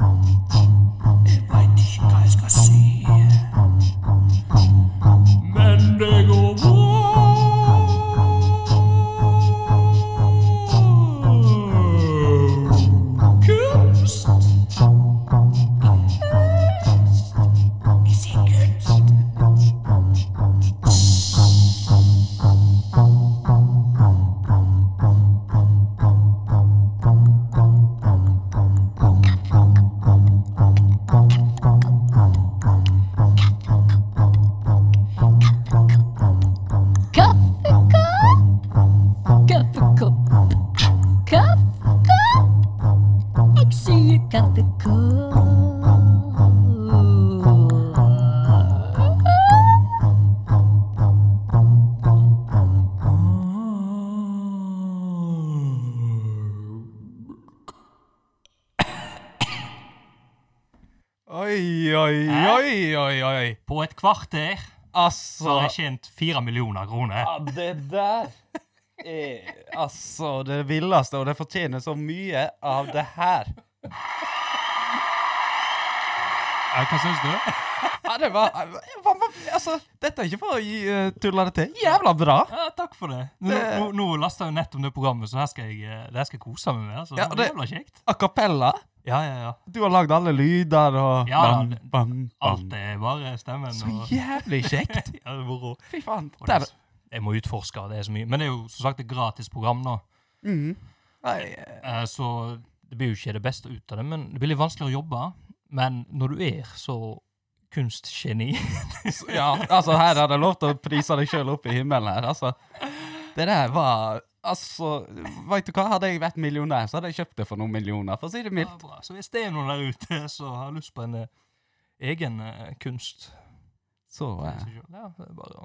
[SPEAKER 3] Jeg veit ikke hva jeg skal si. Men det går bra. Kunst. Jeg sier kunst.
[SPEAKER 1] Oi, oi,
[SPEAKER 2] Hæ?
[SPEAKER 1] oi, oi, oi.
[SPEAKER 2] På et kvarter så har
[SPEAKER 1] Altså
[SPEAKER 2] jeg tjent fire millioner kroner.
[SPEAKER 1] Ja, det der er Eh, altså det villeste, og det fortjener så mye av det her.
[SPEAKER 2] Ja, Hva syns du?
[SPEAKER 1] Ja, det var, hva- hva- Altså, dette er ikke for å gi, eh, tulle det til. Jævla bra!
[SPEAKER 2] Ja, takk for det. Nå, nå, nå lasta jeg jo nettopp det programmet, så her skal jeg, eh, det her skal jeg kose meg med. Altså.
[SPEAKER 1] Ja,
[SPEAKER 2] det...
[SPEAKER 1] det-
[SPEAKER 2] Jævla kjekt.
[SPEAKER 1] A cappella.
[SPEAKER 2] Ja, ja, ja.
[SPEAKER 1] Du har lagd alle lyder og
[SPEAKER 2] Ja,
[SPEAKER 1] bam,
[SPEAKER 2] det-
[SPEAKER 1] bam,
[SPEAKER 2] Alt
[SPEAKER 1] bam.
[SPEAKER 2] er bare stemmen.
[SPEAKER 1] Så
[SPEAKER 2] og-
[SPEAKER 1] jævlig kjekt.
[SPEAKER 2] Ja, det er moro.
[SPEAKER 1] Fy faen.
[SPEAKER 2] Og det
[SPEAKER 1] Der.
[SPEAKER 2] er så- Jeg må utforske, det er så mye. Men det er jo som sagt et gratis program nå,
[SPEAKER 1] Mm. Nei, eh,
[SPEAKER 2] eh, så det blir jo ikke det beste ut av det. Men det blir litt vanskeligere å jobbe. Men når du er så kunstgeni
[SPEAKER 1] så- Ja, altså, her er det lov til å prise deg sjøl opp i himmelen her, altså. Det der var Altså, veit du hva? Hadde jeg vært millionær, så hadde jeg kjøpt det for noen millioner, for å si det
[SPEAKER 2] Ja,
[SPEAKER 1] mildt.
[SPEAKER 2] bra. Så hvis det er noen der ute som har lyst på en eh, egen eh, kunst
[SPEAKER 1] Så eh,
[SPEAKER 2] til seg selv, ja, det er bare å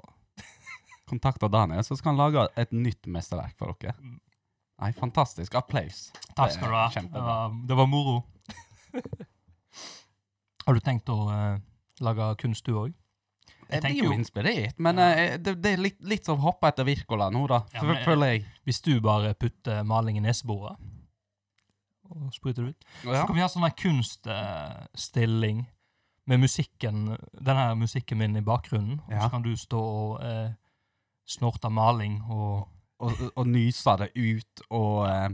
[SPEAKER 1] kontakta Daniel, så skal han lage et nytt mesterverk for dere.
[SPEAKER 2] Mm.
[SPEAKER 1] Nei, fantastisk. Applaus.
[SPEAKER 2] Takk skal du ha. Det
[SPEAKER 1] Kjempebra.
[SPEAKER 2] var, det var moro. Har du tenkt å eh, lage kunst, du òg?
[SPEAKER 1] Jeg
[SPEAKER 2] tenker
[SPEAKER 1] blir jo
[SPEAKER 2] jo-
[SPEAKER 1] inspirert, men
[SPEAKER 2] Ja.
[SPEAKER 1] eh, det, det er litt, litt som å hoppe etter Wirkola nå, da.
[SPEAKER 2] Ja,
[SPEAKER 1] fø-
[SPEAKER 2] men-
[SPEAKER 1] føler jeg.
[SPEAKER 2] Hvis du bare putter maling i neseboret og spruter det ut, så
[SPEAKER 1] Ja.
[SPEAKER 2] kan vi ha sånn her kunststilling med musikken, denne her musikken min i bakgrunnen. Og
[SPEAKER 1] Ja.
[SPEAKER 2] så kan du stå og eh, snorte maling og
[SPEAKER 1] Og, og nyse det ut og eh,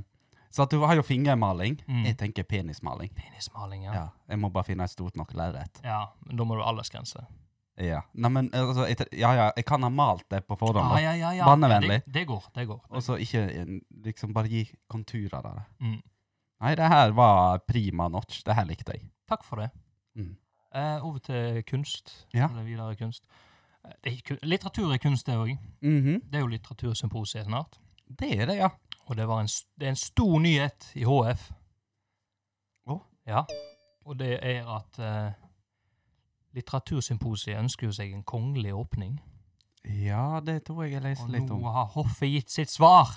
[SPEAKER 1] Så at du har jo fingermaling.
[SPEAKER 2] Mm.
[SPEAKER 1] Jeg tenker penismaling.
[SPEAKER 2] penismaling.
[SPEAKER 1] Ja.
[SPEAKER 2] Ja.
[SPEAKER 1] Jeg må bare finne et stort nok lerret.
[SPEAKER 2] ja, men da må du ha aldersgrense.
[SPEAKER 1] Ja. Nei, men altså, jeg, te- ja, ja, jeg kan ha malt det på forhånd,
[SPEAKER 2] Ah,
[SPEAKER 1] da.
[SPEAKER 2] ja, ja, ja.
[SPEAKER 1] Barnevennlig.
[SPEAKER 2] Det, det går. det går.
[SPEAKER 1] og så ikke eh, liksom bare gi konturer av det.
[SPEAKER 2] Mm.
[SPEAKER 1] Nei, det her var prima notch. Det her likte jeg.
[SPEAKER 2] Takk for det.
[SPEAKER 1] Mm.
[SPEAKER 2] Eh, over til kunst.
[SPEAKER 1] Ja.
[SPEAKER 2] Eller videre kunst. Eh, Det er, kun- litteratur er kunst, det òg.
[SPEAKER 1] Mhm.
[SPEAKER 2] Det er jo litteratursymposiet snart.
[SPEAKER 1] Det er det, ja.
[SPEAKER 2] Og det, var en, s- det er en stor nyhet i HF.
[SPEAKER 1] Å?
[SPEAKER 2] Ja. Og det er at eh, Litteratursymposiet ønsker jo seg en kongelig åpning.
[SPEAKER 1] Ja, det tror jeg jeg
[SPEAKER 2] Og
[SPEAKER 1] leste litt om.
[SPEAKER 2] nå har hoffet gitt sitt svar!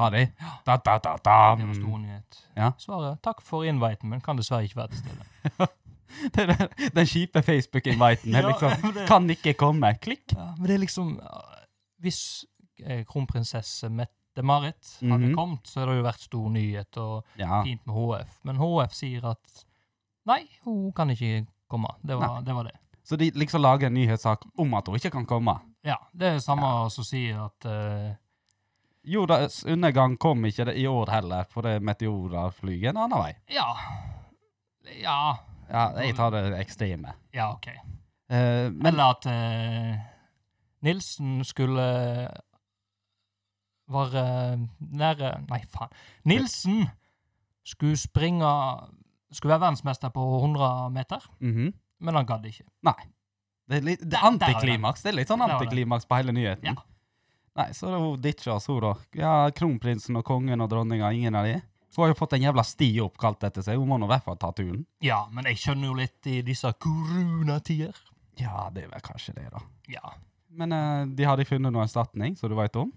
[SPEAKER 1] Har de? Da, da, da, da.
[SPEAKER 2] Det var stor nyhet.
[SPEAKER 1] Mm. Ja.
[SPEAKER 2] Svaret 'takk for inviten, men kan dessverre ikke være til stede'.
[SPEAKER 1] Det er den- Den kjipe Facebook-inviten. er
[SPEAKER 2] Ja,
[SPEAKER 1] liksom,
[SPEAKER 2] det-
[SPEAKER 1] kan ikke komme. Klikk.
[SPEAKER 2] Ja, men det er liksom ja, Hvis eh, kronprinsesse Mette-Marit hadde
[SPEAKER 1] Mhm.
[SPEAKER 2] kommet, så hadde det jo vært stor nyhet og
[SPEAKER 1] Ja.
[SPEAKER 2] fint med HF. Men HF sier at nei, hun kan ikke komme. Det var det. Var det.
[SPEAKER 1] Så de liksom lager en nyhetssak om at hun ikke kan komme.
[SPEAKER 2] Ja, det er det samme som sier at eh,
[SPEAKER 1] Jordas undergang kom ikke det i år heller, for det meteorer flyr en annen vei.
[SPEAKER 2] Ja. Ja.
[SPEAKER 1] Ja, jeg tar det ekstreme.
[SPEAKER 2] Ja, OK.
[SPEAKER 1] Eh, men
[SPEAKER 2] Eller at eh, Nilsen skulle være nære Nei, faen. Nilsen skulle springe Skulle være verdensmester på 100 meter,
[SPEAKER 1] Mhm.
[SPEAKER 2] men han gadd ikke.
[SPEAKER 1] det er litt det
[SPEAKER 2] Der-
[SPEAKER 1] er
[SPEAKER 2] der har vi det.
[SPEAKER 1] antiklimaks. Det er litt sånn
[SPEAKER 2] Der har vi det.
[SPEAKER 1] antiklimaks på hele nyheten.
[SPEAKER 2] Ja.
[SPEAKER 1] Nei, så er det hun ditcha oss, hun da. Ja, kronprinsen og kongen og dronninga, ingen av de. Hun har jo fått en jævla sti oppkalt etter seg. Hun må nå i hvert fall ta turen.
[SPEAKER 2] Ja, men jeg skjønner jo litt i disse koronatider.
[SPEAKER 1] Ja, det er vel kanskje det, da.
[SPEAKER 2] Ja.
[SPEAKER 1] Men eh, de hadde funnet noe erstatning, så du veit om?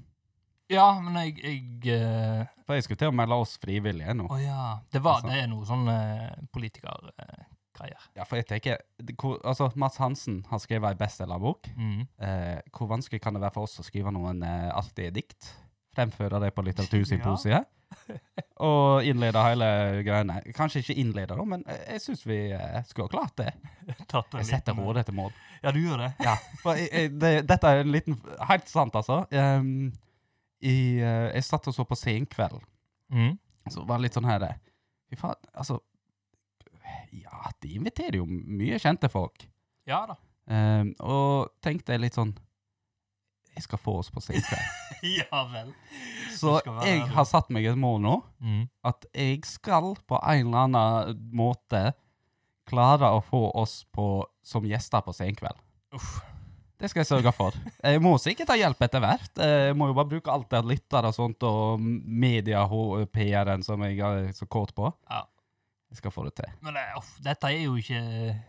[SPEAKER 2] ja, men jeg, jeg eh,
[SPEAKER 1] For jeg skulle til å melde oss frivillige nå.
[SPEAKER 2] Å ja. Det, var,
[SPEAKER 1] Altså.
[SPEAKER 2] det er noe sånn eh, politikergreier.
[SPEAKER 1] Ja, for jeg tenker, det- hvor, altså, Mats Hansen har skrevet ei bestselgerbok.
[SPEAKER 2] Mm.
[SPEAKER 1] Eh, hvor vanskelig kan det være for oss å skrive noen eh, artige dikt? Fremføre det på litteratursymposiet? Og innlede hele greiene. Kanskje ikke innlede, da, men eh, jeg syns vi eh, skulle ha klart det.
[SPEAKER 2] Tatt en
[SPEAKER 1] Jeg setter
[SPEAKER 2] liten-
[SPEAKER 1] hodet til mål.
[SPEAKER 2] Ja, du gjør det?
[SPEAKER 1] Ja, for jeg, jeg, det, dette er en liten Helt sant, altså. Ehm, i, eh, jeg satt og så på Senkveld.
[SPEAKER 2] Mm.
[SPEAKER 1] Så var det litt sånn her eh, Fy faen, altså Ja, de inviterer jo mye kjente folk.
[SPEAKER 2] Ja da.
[SPEAKER 1] Ehm, og tenkte jeg litt sånn Jeg skal få oss på Senkveld.
[SPEAKER 2] ja vel.
[SPEAKER 1] Så
[SPEAKER 2] Du skal være
[SPEAKER 1] jeg
[SPEAKER 2] ærlig.
[SPEAKER 1] har satt meg et mål nå.
[SPEAKER 2] Mm.
[SPEAKER 1] At jeg skal på en eller annen måte klare å få oss på, som gjester på Senkveld.
[SPEAKER 2] Uff.
[SPEAKER 1] Det skal jeg sørge for. Jeg må sikkert ha hjelp etter hvert. Eh, Jeg må jo bare bruke alt jeg har lyttere og sånt, og media og PR-en som jeg er så kåt på.
[SPEAKER 2] Ja.
[SPEAKER 1] Jeg skal få det til.
[SPEAKER 2] Men eh, uff, dette er jo ikke eh,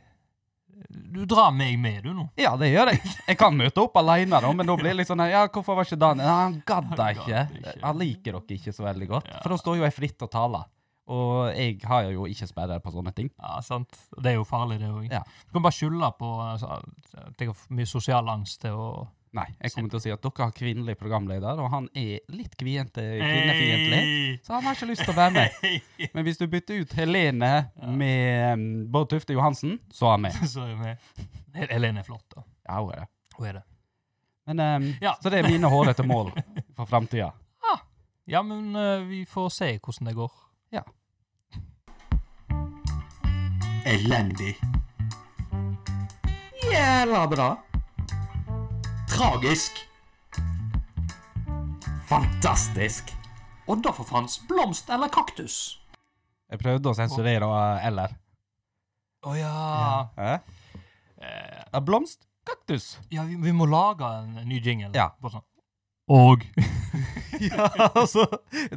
[SPEAKER 2] Du drar meg med, du, nå.
[SPEAKER 1] Ja, det gjør jeg. Jeg kan møte opp alene, da, men da blir det litt sånn her, Ja, hvorfor var ikke Daniel Nei, Han gadd da
[SPEAKER 2] Han
[SPEAKER 1] ikke.
[SPEAKER 2] gadd ikke.
[SPEAKER 1] Han liker dere ikke så veldig godt.
[SPEAKER 2] Ja.
[SPEAKER 1] For da står jo jeg fritt og taler. Og jeg har jo ikke sperrer på sånne ting.
[SPEAKER 2] Ja, sant. Og Det er jo farlig, det òg.
[SPEAKER 1] Ja.
[SPEAKER 2] Du kan bare skylde på altså, at jeg har for mye sosial angst til å
[SPEAKER 1] Nei, jeg kommer til å si at dere har kvinnelig programleder, og han er litt kviente, kvinnefiendtlig. Så han har ikke lyst til å være med. Men hvis du bytter ut Helene med mm, Bård Tufte Johansen, så er han med.
[SPEAKER 2] Så er jeg med. Hel- Helene er flott, da.
[SPEAKER 1] Ja, hun er det.
[SPEAKER 2] Hun er det.
[SPEAKER 1] Men, em,
[SPEAKER 2] Ja.
[SPEAKER 1] Så det er mine hårete mål for framtida.
[SPEAKER 2] Ja, men eh, vi får se hvordan det går.
[SPEAKER 3] Elendig. Jævla bra. Tragisk. Fantastisk. Og da for faens blomst eller kaktus?
[SPEAKER 1] Jeg prøvde å sensurere og eh, eller.
[SPEAKER 2] Å ja.
[SPEAKER 1] Hæ?
[SPEAKER 2] Eh,
[SPEAKER 1] Ja, Blomst? Kaktus?
[SPEAKER 2] ja vi, vi må lage en ny jingle.
[SPEAKER 1] Ja.
[SPEAKER 2] Bare sånn. Og
[SPEAKER 1] ja, altså,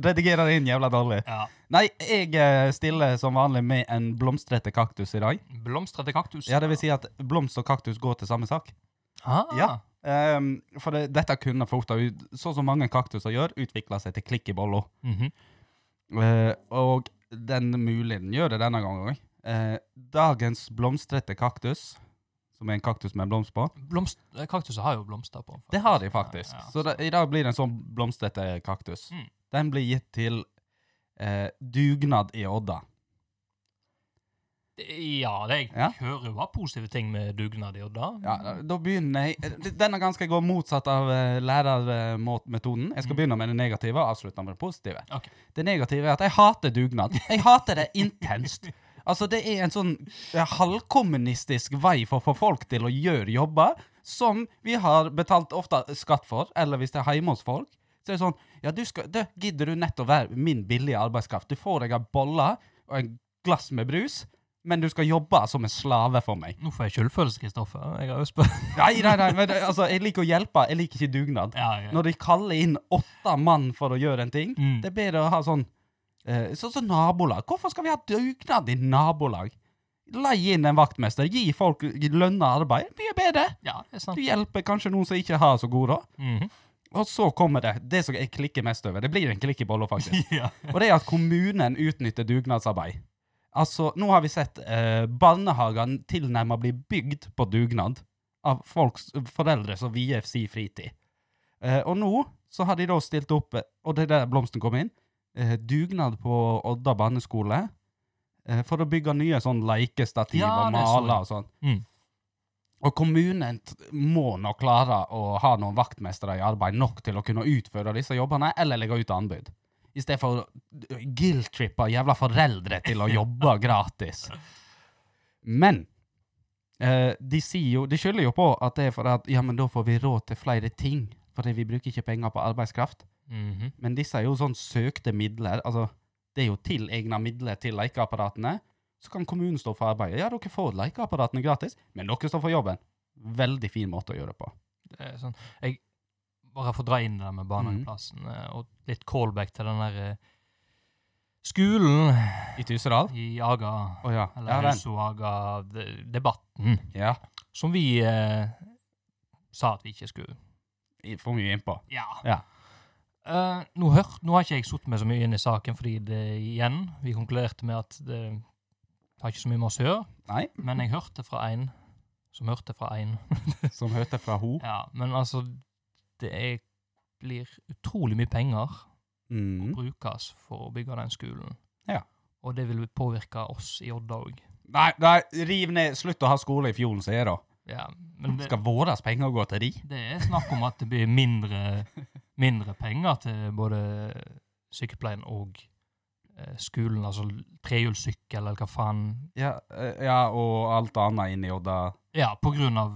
[SPEAKER 1] redigerer det inn jævla dårlig.
[SPEAKER 2] Ja.
[SPEAKER 1] Nei, jeg eh, stiller som vanlig med en blomstrete kaktus i dag.
[SPEAKER 2] Blomstrete kaktus.
[SPEAKER 1] Ja, det vil si at blomst og kaktus går til samme sak.
[SPEAKER 2] Ah,
[SPEAKER 1] Ja. Ehm, for det, dette kunne fort ha ut, sånn som mange kaktuser gjør, utvikla seg til klikk i bolla.
[SPEAKER 2] mhm.
[SPEAKER 1] Eh, og den muligheten gjør det denne gangen òg. dagens blomstrete kaktus, som er en kaktus med en blomst på,
[SPEAKER 2] Blomst, eh, kaktuser har jo blomster på.
[SPEAKER 1] det har de faktisk.
[SPEAKER 2] Ja, ja.
[SPEAKER 1] Så det, i dag blir det en sånn blomstrete kaktus.
[SPEAKER 2] Mm.
[SPEAKER 1] Den blir gitt til eh, dugnad i Odda.
[SPEAKER 2] Ja, det jeg
[SPEAKER 1] Ja.
[SPEAKER 2] hører var positive ting med dugnad i Odda.
[SPEAKER 1] Ja, da begynner jeg Denne gangen skal jeg gå motsatt av eh, lærermetoden. Jeg skal begynne med det negative og avslutte med det positive.
[SPEAKER 2] Ok.
[SPEAKER 1] Det negative er at jeg hater dugnad. Jeg hater det intenst. Altså, det er en sånn eh, halvkommunistisk vei for å få folk til å gjøre jobber som vi har betalt ofte skatt for, eller hvis det er hjemme hos folk. Så er det sånn Ja, du skal Du, gidder du nettopp være min billige arbeidskraft? Du får deg en bolle og en glass med brus, men du skal jobbe som en slave for meg.
[SPEAKER 2] Nå får jeg skyldfølelse, Kristoffer. Jeg har jo spurt.
[SPEAKER 1] Nei, nei, nei, men det- altså, jeg liker å hjelpe, jeg liker ikke dugnad.
[SPEAKER 2] Ja, ja.
[SPEAKER 1] Når de kaller inn åtte mann for å gjøre en ting,
[SPEAKER 2] Mm.
[SPEAKER 1] det er bedre å ha sånn eh, Sånn som nabolag. Hvorfor skal vi ha dugnad i nabolag? Leie inn en vaktmester, gi folk lønna arbeid. Mye bedre.
[SPEAKER 2] ja, det
[SPEAKER 1] Du
[SPEAKER 2] er sant.
[SPEAKER 1] hjelper kanskje noen som ikke har så god råd.
[SPEAKER 2] Mhm.
[SPEAKER 1] Og så kommer det, det som jeg klikker mest over. Det blir en klikk i bolla, faktisk.
[SPEAKER 2] ja.
[SPEAKER 1] Og det er at kommunen utnytter dugnadsarbeid. Altså, nå har vi sett eh, barnehagene tilnærmet bli bygd på dugnad av folks, eh, foreldre som vier sin fritid. Eh, og nå så har de da stilt opp, eh, og det er der blomsten kom inn, eh, dugnad på Odda barneskole eh, for å bygge nye sånn leikestativ
[SPEAKER 2] Ja,
[SPEAKER 1] og
[SPEAKER 2] det så jeg.
[SPEAKER 1] maler og sånn.
[SPEAKER 2] Mm.
[SPEAKER 1] Og kommunen t- må nå klare å ha noen vaktmestere i arbeid nok til å kunne utføre disse jobbene, eller legge ut anbud. I stedet for å guilt-trippe jævla foreldre til å jobbe gratis. Men eh, de sier jo, de skylder jo på at det er for at ja, men da får vi råd til flere ting, fordi vi bruker ikke penger på arbeidskraft.
[SPEAKER 2] Mhm.
[SPEAKER 1] Men disse er jo sånn søkte midler, altså det er jo tilegna midler til lekeapparatene. Så kan kommunen stå for arbeidet. Ja, dere får lekeapparatene gratis, men dere står for jobben. Veldig fin måte å gjøre det på.
[SPEAKER 2] Det er sånn. Jeg bare får dra inn det der med barnehageplassen,
[SPEAKER 1] Mhm.
[SPEAKER 2] eh, og litt callback til den der eh, skolen
[SPEAKER 1] I Tyssedal?
[SPEAKER 2] i Aga,
[SPEAKER 1] Å ja.
[SPEAKER 2] eller
[SPEAKER 1] Ja, den.
[SPEAKER 2] Husoaga-debatten,
[SPEAKER 1] Ja.
[SPEAKER 2] som vi eh, sa at vi ikke skulle.
[SPEAKER 1] i- For mye innpå.
[SPEAKER 2] Ja.
[SPEAKER 1] Ja.
[SPEAKER 2] Eh, nå, hørt, nå har ikke jeg sittet meg så mye inn i saken, fordi det igjen, vi konkluderte med at det har ikke så mye med oss å gjøre,
[SPEAKER 1] Nei,
[SPEAKER 2] men jeg hørte fra en som hørte fra en.
[SPEAKER 1] som hørte fra ho.
[SPEAKER 2] Ja, men altså, det er, blir utrolig mye penger
[SPEAKER 1] Mm.
[SPEAKER 2] brukes for å bygge den skolen.
[SPEAKER 1] Ja.
[SPEAKER 2] Og det vil påvirke oss i Odda òg.
[SPEAKER 1] Nei, nei, riv ned. Slutt å ha skole i fjorden, sier jeg da.
[SPEAKER 2] Ja, men det,
[SPEAKER 1] Skal våre penger gå til de?
[SPEAKER 2] det er snakk om at det blir mindre, mindre penger til både sykepleien og eh, skolen, altså trehjulssykkel eller hva faen.
[SPEAKER 1] Ja, eh, ja, og alt annet inni Odda.
[SPEAKER 2] Ja, på grunn av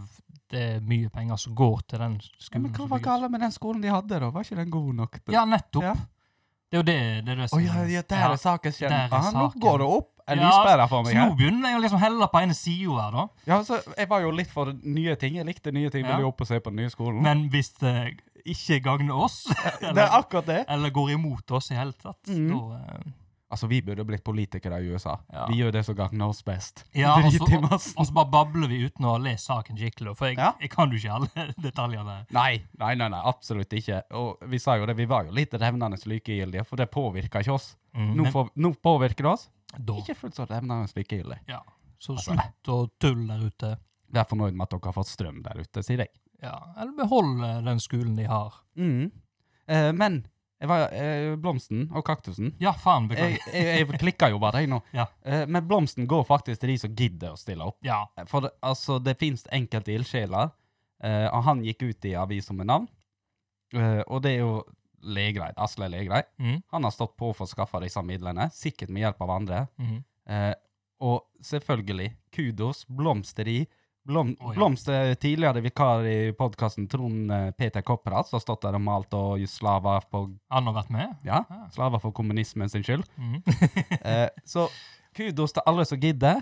[SPEAKER 2] det er mye penger som går til den
[SPEAKER 1] Ja,
[SPEAKER 2] skolen.
[SPEAKER 1] men hva
[SPEAKER 2] som
[SPEAKER 1] var
[SPEAKER 2] bygges.
[SPEAKER 1] galt med den skolen de hadde, da? Var ikke den god nok? til-
[SPEAKER 2] Mm, Ja, nettopp.
[SPEAKER 1] Ja.
[SPEAKER 2] Det er jo det, det, er det
[SPEAKER 1] Å ja, ja, der er saken
[SPEAKER 2] der er
[SPEAKER 1] skjedd. Ah, nå
[SPEAKER 2] saken.
[SPEAKER 1] går det opp. En
[SPEAKER 2] Ja,
[SPEAKER 1] lyspære for meg
[SPEAKER 2] Så nå
[SPEAKER 1] her.
[SPEAKER 2] begynner jeg å liksom helle på ene sida her, da.
[SPEAKER 1] Ja, altså, jeg var jo litt for nye ting. Jeg likte nye ting.
[SPEAKER 2] Ja.
[SPEAKER 1] Ja. Ville opp og se på den nye skolen.
[SPEAKER 2] Men hvis det ikke gagner oss,
[SPEAKER 1] det er
[SPEAKER 2] eller,
[SPEAKER 1] akkurat det.
[SPEAKER 2] eller går imot oss i hele tatt,
[SPEAKER 1] Mhm.
[SPEAKER 2] da eh,
[SPEAKER 1] Altså, vi burde blitt politikere i USA.
[SPEAKER 2] Ja.
[SPEAKER 1] Vi gjør det som gagner oss best.
[SPEAKER 2] Ja, og
[SPEAKER 1] Drit
[SPEAKER 2] så,
[SPEAKER 1] i
[SPEAKER 2] og,
[SPEAKER 1] massen.
[SPEAKER 2] og så bare babler vi uten å ha lest saken skikkelig, da, for jeg,
[SPEAKER 1] Ja.
[SPEAKER 2] jeg kan jo ikke alle detaljene.
[SPEAKER 1] Nei, nei, nei, nei, absolutt ikke. Og vi sa jo det, vi var jo litt revnende likegyldige, for det påvirka ikke oss. Mm. Nå,
[SPEAKER 2] Mm, Men
[SPEAKER 1] får, nå påvirker det oss.
[SPEAKER 2] da,
[SPEAKER 1] Ikke fullt så revnende likegyldig.
[SPEAKER 2] ja. Så
[SPEAKER 1] Altså.
[SPEAKER 2] slutt å tulle der ute.
[SPEAKER 1] Vær fornøyd med at dere har fått strøm der ute, sier jeg.
[SPEAKER 2] Ja. Eller behold eh, den skolen de har.
[SPEAKER 1] Mm. Eh, men jeg var, eh, blomsten og kaktusen
[SPEAKER 2] Ja, faen,
[SPEAKER 1] Jeg,
[SPEAKER 2] beklager.
[SPEAKER 1] jeg, jeg klikka jo bare, jeg nå.
[SPEAKER 2] Ja.
[SPEAKER 1] Eh, men blomsten går faktisk til de som gidder å stille opp.
[SPEAKER 2] Ja.
[SPEAKER 1] For det- altså, det finnes enkelte ildsjeler, eh, og han gikk ut i avisa med navn. Eh, og det er jo Legreid, Asle Legreid.
[SPEAKER 2] Mm.
[SPEAKER 1] Han har stått på for å skaffe disse midlene, sikkert med hjelp av andre.
[SPEAKER 2] Mhm.
[SPEAKER 1] Eh, og selvfølgelig, kudos, blomsteri. Blom,
[SPEAKER 2] Å, ja.
[SPEAKER 1] Blomster tidligere vikar i podkasten Trond eh, Peter Kopperhatt, som har stått der og malt og slava på
[SPEAKER 2] Han har vært med?
[SPEAKER 1] ja,
[SPEAKER 2] Ah.
[SPEAKER 1] slava for kommunismen sin skyld.
[SPEAKER 2] Mhm.
[SPEAKER 1] Eh, så kudos til alle som gidder,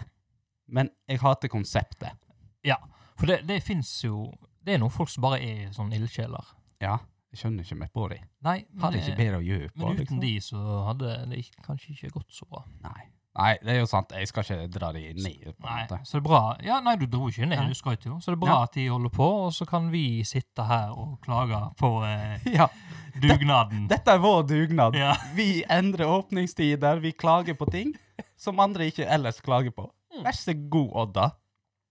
[SPEAKER 1] men jeg hater konseptet.
[SPEAKER 2] Ja. For det, det fins jo Det er noen folk som bare er sånn ildsjeler.
[SPEAKER 1] Ja. Jeg skjønner ikke meg på det.
[SPEAKER 2] Nei,
[SPEAKER 1] Har
[SPEAKER 2] men,
[SPEAKER 1] ikke
[SPEAKER 2] eh,
[SPEAKER 1] bedre å gjøre på.
[SPEAKER 2] men uten
[SPEAKER 1] liksom.
[SPEAKER 2] de så hadde det ikke- kanskje ikke gått så bra.
[SPEAKER 1] Nei. Nei, det er jo sant. Jeg skal ikke dra de ned. på en
[SPEAKER 2] Nei,
[SPEAKER 1] måte.
[SPEAKER 2] så det er bra. Ja, nei, du dro ikke
[SPEAKER 4] Nei.
[SPEAKER 2] ned, du skrøt jo. Så det er bra at de holder på, og så kan vi sitte her og klage på eh,
[SPEAKER 1] Ja,
[SPEAKER 2] dugnaden.
[SPEAKER 1] dette er vår dugnad.
[SPEAKER 2] Ja.
[SPEAKER 1] Vi endrer åpningstider, vi klager på ting som andre ikke ellers klager på.
[SPEAKER 2] Mm.
[SPEAKER 1] Vær så god, Odda.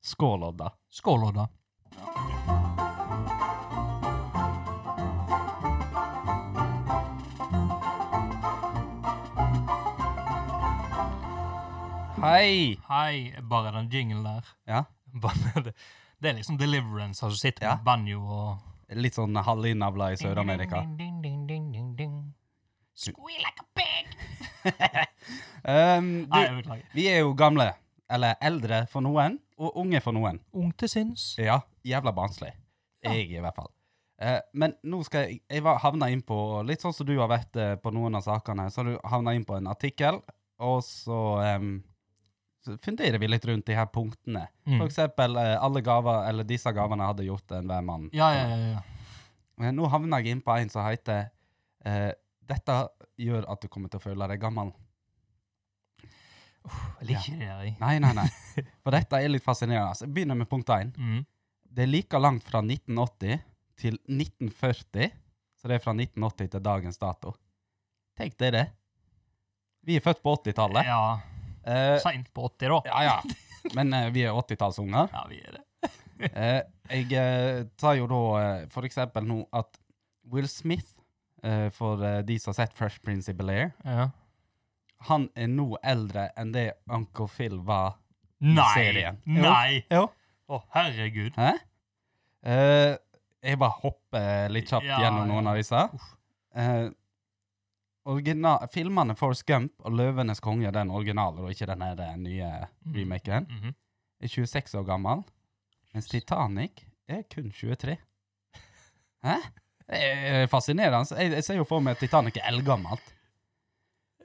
[SPEAKER 1] Skål, Odda.
[SPEAKER 2] Skål, Odda.
[SPEAKER 1] Hei!
[SPEAKER 2] Hei, bare den jinglen der.
[SPEAKER 1] Ja,
[SPEAKER 2] Bare det- Det er liksom deliverance, altså sitte
[SPEAKER 1] Ja.
[SPEAKER 2] med banjo og
[SPEAKER 1] litt sånn hallinnavla i Sør-Amerika.
[SPEAKER 2] Ding, ding, ding, ding, ding. Squeal like a pig!
[SPEAKER 1] Um,
[SPEAKER 2] Nei, jeg
[SPEAKER 1] du,
[SPEAKER 2] beklager.
[SPEAKER 1] vi er jo gamle, eller eldre for noen, og unge for noen.
[SPEAKER 2] Ung til sinns.
[SPEAKER 1] Ja, jævla barnslig. Jeg i hvert fall. Eh, men nå skal jeg Jeg var, havna inn på Litt sånn som du har vært eh, på noen av sakene. Så har du havna inn på en artikkel, og så, em, så funderer vi litt rundt de her punktene.
[SPEAKER 2] Mm.
[SPEAKER 1] For eksempel eh, alle gaver, eller disse gavene hadde gjort enhver mann.
[SPEAKER 2] Ja, ja, ja. ja.
[SPEAKER 1] Men nå havna jeg inn på en som heter eh, 'Dette gjør at du kommer til å føle deg gammel'.
[SPEAKER 2] Jeg liker det der, jeg.
[SPEAKER 1] Nei, nei, nei. For dette er litt fascinerende. Så jeg begynner med punkt én.
[SPEAKER 2] Mm.
[SPEAKER 1] Det er like langt fra 1980 til 1940, så det er fra 1980 til dagens dato. Tenk deg det. Vi er født på 80-tallet.
[SPEAKER 2] Ja.
[SPEAKER 1] Eh,
[SPEAKER 2] Seint på 80, da.
[SPEAKER 1] ja, ja. Men eh, vi er 80-tallsunger.
[SPEAKER 2] Ja, vi er det.
[SPEAKER 1] Eh, jeg eh, tar jo da eh, for eksempel nå at Will Smith, eh, for eh, de som har sett Fresh Prince i Bel-Air,
[SPEAKER 2] Ja.
[SPEAKER 1] han er nå eldre enn det Uncle Phil var.
[SPEAKER 2] Nei!
[SPEAKER 1] serien. Jo.
[SPEAKER 2] Nei!
[SPEAKER 1] Jo.
[SPEAKER 2] Å, herregud.
[SPEAKER 1] Hæ? Eh, jeg bare hopper litt kjapt
[SPEAKER 2] Ja,
[SPEAKER 1] gjennom
[SPEAKER 2] ja.
[SPEAKER 1] noen av disse. Eh, original, filmene Forrest Gump og Løvenes konge, den originale, og ikke den her eh, nye remaken,
[SPEAKER 2] Mhm.
[SPEAKER 1] er 26 år gammel, mens Titanic er kun 23. Hæ? Det er fascinerende. Altså, Jeg, jeg ser jo for meg at Titanic er eldgammelt.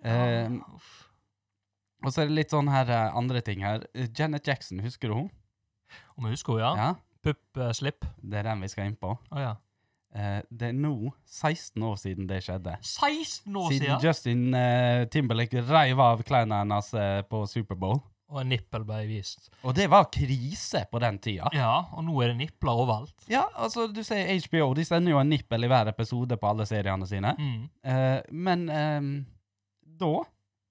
[SPEAKER 1] Eh,
[SPEAKER 2] Ja, uff.
[SPEAKER 1] og så er det litt sånn her eh, andre ting her. Eh, Janet Jackson, husker du hun?
[SPEAKER 2] Og vi husker jo, ja.
[SPEAKER 1] Ja.
[SPEAKER 2] Pupp, eh, slipp.
[SPEAKER 1] Det er den vi skal inn på.
[SPEAKER 2] Å ja.
[SPEAKER 1] Eh, det er nå 16 år siden det skjedde.
[SPEAKER 2] 16 år
[SPEAKER 1] Siden
[SPEAKER 2] siden!
[SPEAKER 1] Justin eh, Timberlake reiv av klærne hennes eh, på Superbowl.
[SPEAKER 2] Og en nippel ble vist.
[SPEAKER 1] Og det var krise på den tida.
[SPEAKER 2] Ja, og nå er det nipler overalt.
[SPEAKER 1] Ja, altså, du sier HBO. De sender jo en nippel i hver episode på alle seriene sine.
[SPEAKER 2] Mm.
[SPEAKER 1] Eh, men ehm, da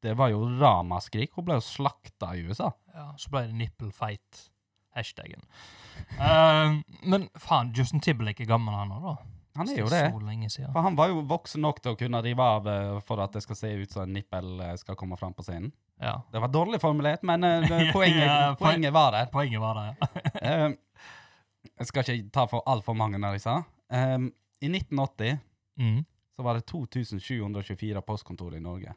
[SPEAKER 1] Det var jo ramaskrik. Hun ble jo slakta i USA.
[SPEAKER 2] Ja, så ble det nippelfight. Hashtagen. Eh, men faen, Justin Timberlake er gammel han òg, da.
[SPEAKER 1] Han er jo det.
[SPEAKER 2] Så lenge siden.
[SPEAKER 1] For han var jo voksen nok til å kunne rive av eh, for at det skal se ut som en nippel eh, skal komme fram på scenen.
[SPEAKER 2] Ja.
[SPEAKER 1] Det var dårlig formulert, men eh, det- poenget,
[SPEAKER 2] Ja, poen-
[SPEAKER 1] poenget var der.
[SPEAKER 2] Poenget var det, ja.
[SPEAKER 1] Eh, jeg skal ikke ta for altfor mange av disse. Eh, I 1980
[SPEAKER 2] Mm.
[SPEAKER 1] så var det 2724 postkontor i Norge.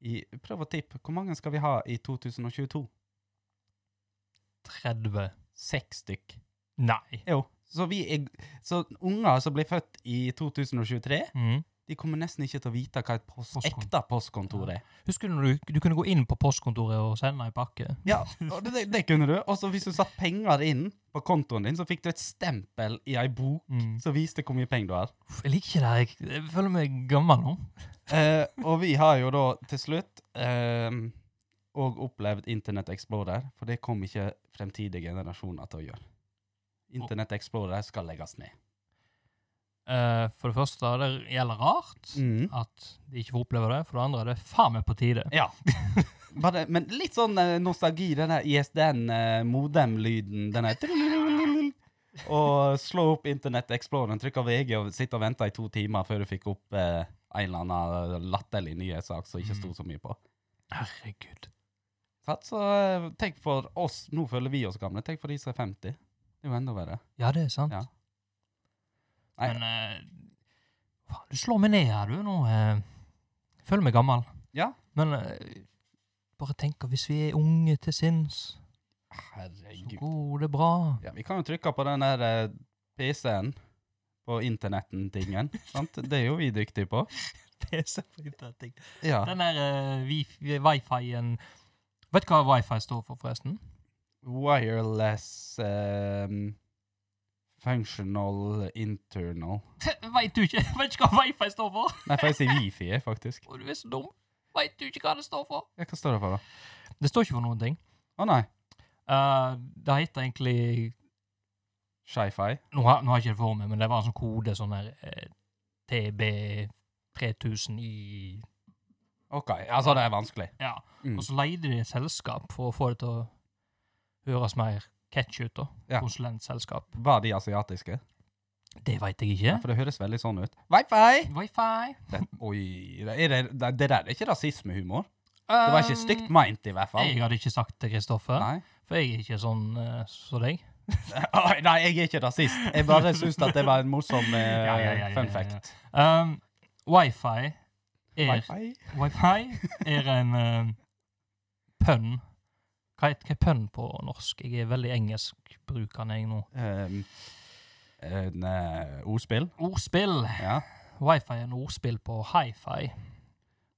[SPEAKER 1] I, prøv å tippe. Hvor mange skal vi ha i 2022?
[SPEAKER 2] 30
[SPEAKER 1] Seks stykk.
[SPEAKER 2] Nei.
[SPEAKER 1] Jo. Så, vi er, så unger som blir født i 2023,
[SPEAKER 2] Mm.
[SPEAKER 1] de kommer nesten ikke til å vite hva et post,
[SPEAKER 2] Postkon-
[SPEAKER 1] ekte postkontor er.
[SPEAKER 2] Husker du når du, du kunne gå inn på postkontoret og sende ei pakke?
[SPEAKER 1] Ja, og det, det kunne du. Og så hvis du satte penger inn på kontoen din, så fikk du et stempel i ei bok
[SPEAKER 2] Mm.
[SPEAKER 1] som viste hvor mye penger du har.
[SPEAKER 2] Uff, Jeg liker ikke det her. Jeg- Jeg føler meg gammel nå.
[SPEAKER 1] Eh, og vi har jo da til slutt òg opplevd Internett Explorer, for det kom ikke fremtidige generasjoner til å gjøre. Internett Explorer skal legges ned.
[SPEAKER 2] Eh, for det første, det gjelder rart at de ikke får oppleve det. For det andre, det er faen meg på tide.
[SPEAKER 1] Ja. Bare, men litt sånn eh, nostalgi, den der ISDN-modem-lyden. eh, Den der Og slå opp Internett Explorer, trykke VG og sitte og vente i to timer før du fikk opp eh, en eller annen latterlig nyhetssak som ikke sto så mye på.
[SPEAKER 2] Herregud.
[SPEAKER 1] Sant? Så eh, tenk for oss, nå føler vi oss gamle, tenk for de som er 50. Det er jo enda verre.
[SPEAKER 2] Ja, det er sant.
[SPEAKER 1] Ja. Nei.
[SPEAKER 2] Men eh, faen, du slår meg ned her, du, nå. eh. Jeg føler meg gammel.
[SPEAKER 1] Ja.
[SPEAKER 2] Men eh, bare tenk at hvis vi er unge til sinns, så
[SPEAKER 1] Herregud.
[SPEAKER 2] går det bra.
[SPEAKER 1] Ja, vi kan jo trykke på den der eh, PC-en på internetten-tingen, sant? Det er jo vi dyktige på.
[SPEAKER 2] PC på internetting.
[SPEAKER 1] Ja.
[SPEAKER 2] Den der eh, wi- wifi-en Vet du hva wifi står for, forresten?
[SPEAKER 1] Wireless um, ehm, Functional internal.
[SPEAKER 2] Veit du ikke Vet ikke hva wifi står for?
[SPEAKER 1] Nei, for jeg sier wifi, jeg, faktisk.
[SPEAKER 2] Og du er så dum. Veit du ikke hva det står for?
[SPEAKER 1] Ja, Hva står det for, da?
[SPEAKER 2] Det står ikke for noen ting.
[SPEAKER 1] Å nei.
[SPEAKER 2] Eh, det heter egentlig
[SPEAKER 1] Sci-fi.
[SPEAKER 2] Nå har, nå har jeg ikke det for meg, men det var en sånn kode sånn der eh, TB3000 i
[SPEAKER 1] OK. Altså, det er vanskelig.
[SPEAKER 2] Ja.
[SPEAKER 1] Mm.
[SPEAKER 2] Og så leide de et selskap for å få det til å høres mer catchy ut, da.
[SPEAKER 1] Ja.
[SPEAKER 2] Konsulentselskap.
[SPEAKER 1] Var de asiatiske?
[SPEAKER 2] Det veit jeg ikke.
[SPEAKER 1] For det høres veldig sånn ut. Wifi!
[SPEAKER 2] Wifi.
[SPEAKER 1] Det, oi, det, er det, det det der er ikke rasismehumor. Det var ikke stygt meint, i hvert fall.
[SPEAKER 2] Um, Jeg hadde ikke sagt det, Kristoffer.
[SPEAKER 1] Nei.
[SPEAKER 2] For jeg er ikke sånn eh, som deg.
[SPEAKER 1] Oi, nei, jeg er ikke rasist. Jeg bare syns at det var en morsom eh,
[SPEAKER 2] Ja, ja, ja, ja,
[SPEAKER 1] fun
[SPEAKER 2] ja,
[SPEAKER 1] fact.
[SPEAKER 2] Um, wifi er
[SPEAKER 1] Wifi?
[SPEAKER 2] Wifi er en eh, pønn. Hva er, hva er pønn på norsk? Jeg er veldig engelskbrukende, jeg nå.
[SPEAKER 1] Um, en, eh, ordspill?
[SPEAKER 2] Ordspill.
[SPEAKER 1] Ja.
[SPEAKER 2] Wifi er en ordspill på hifi.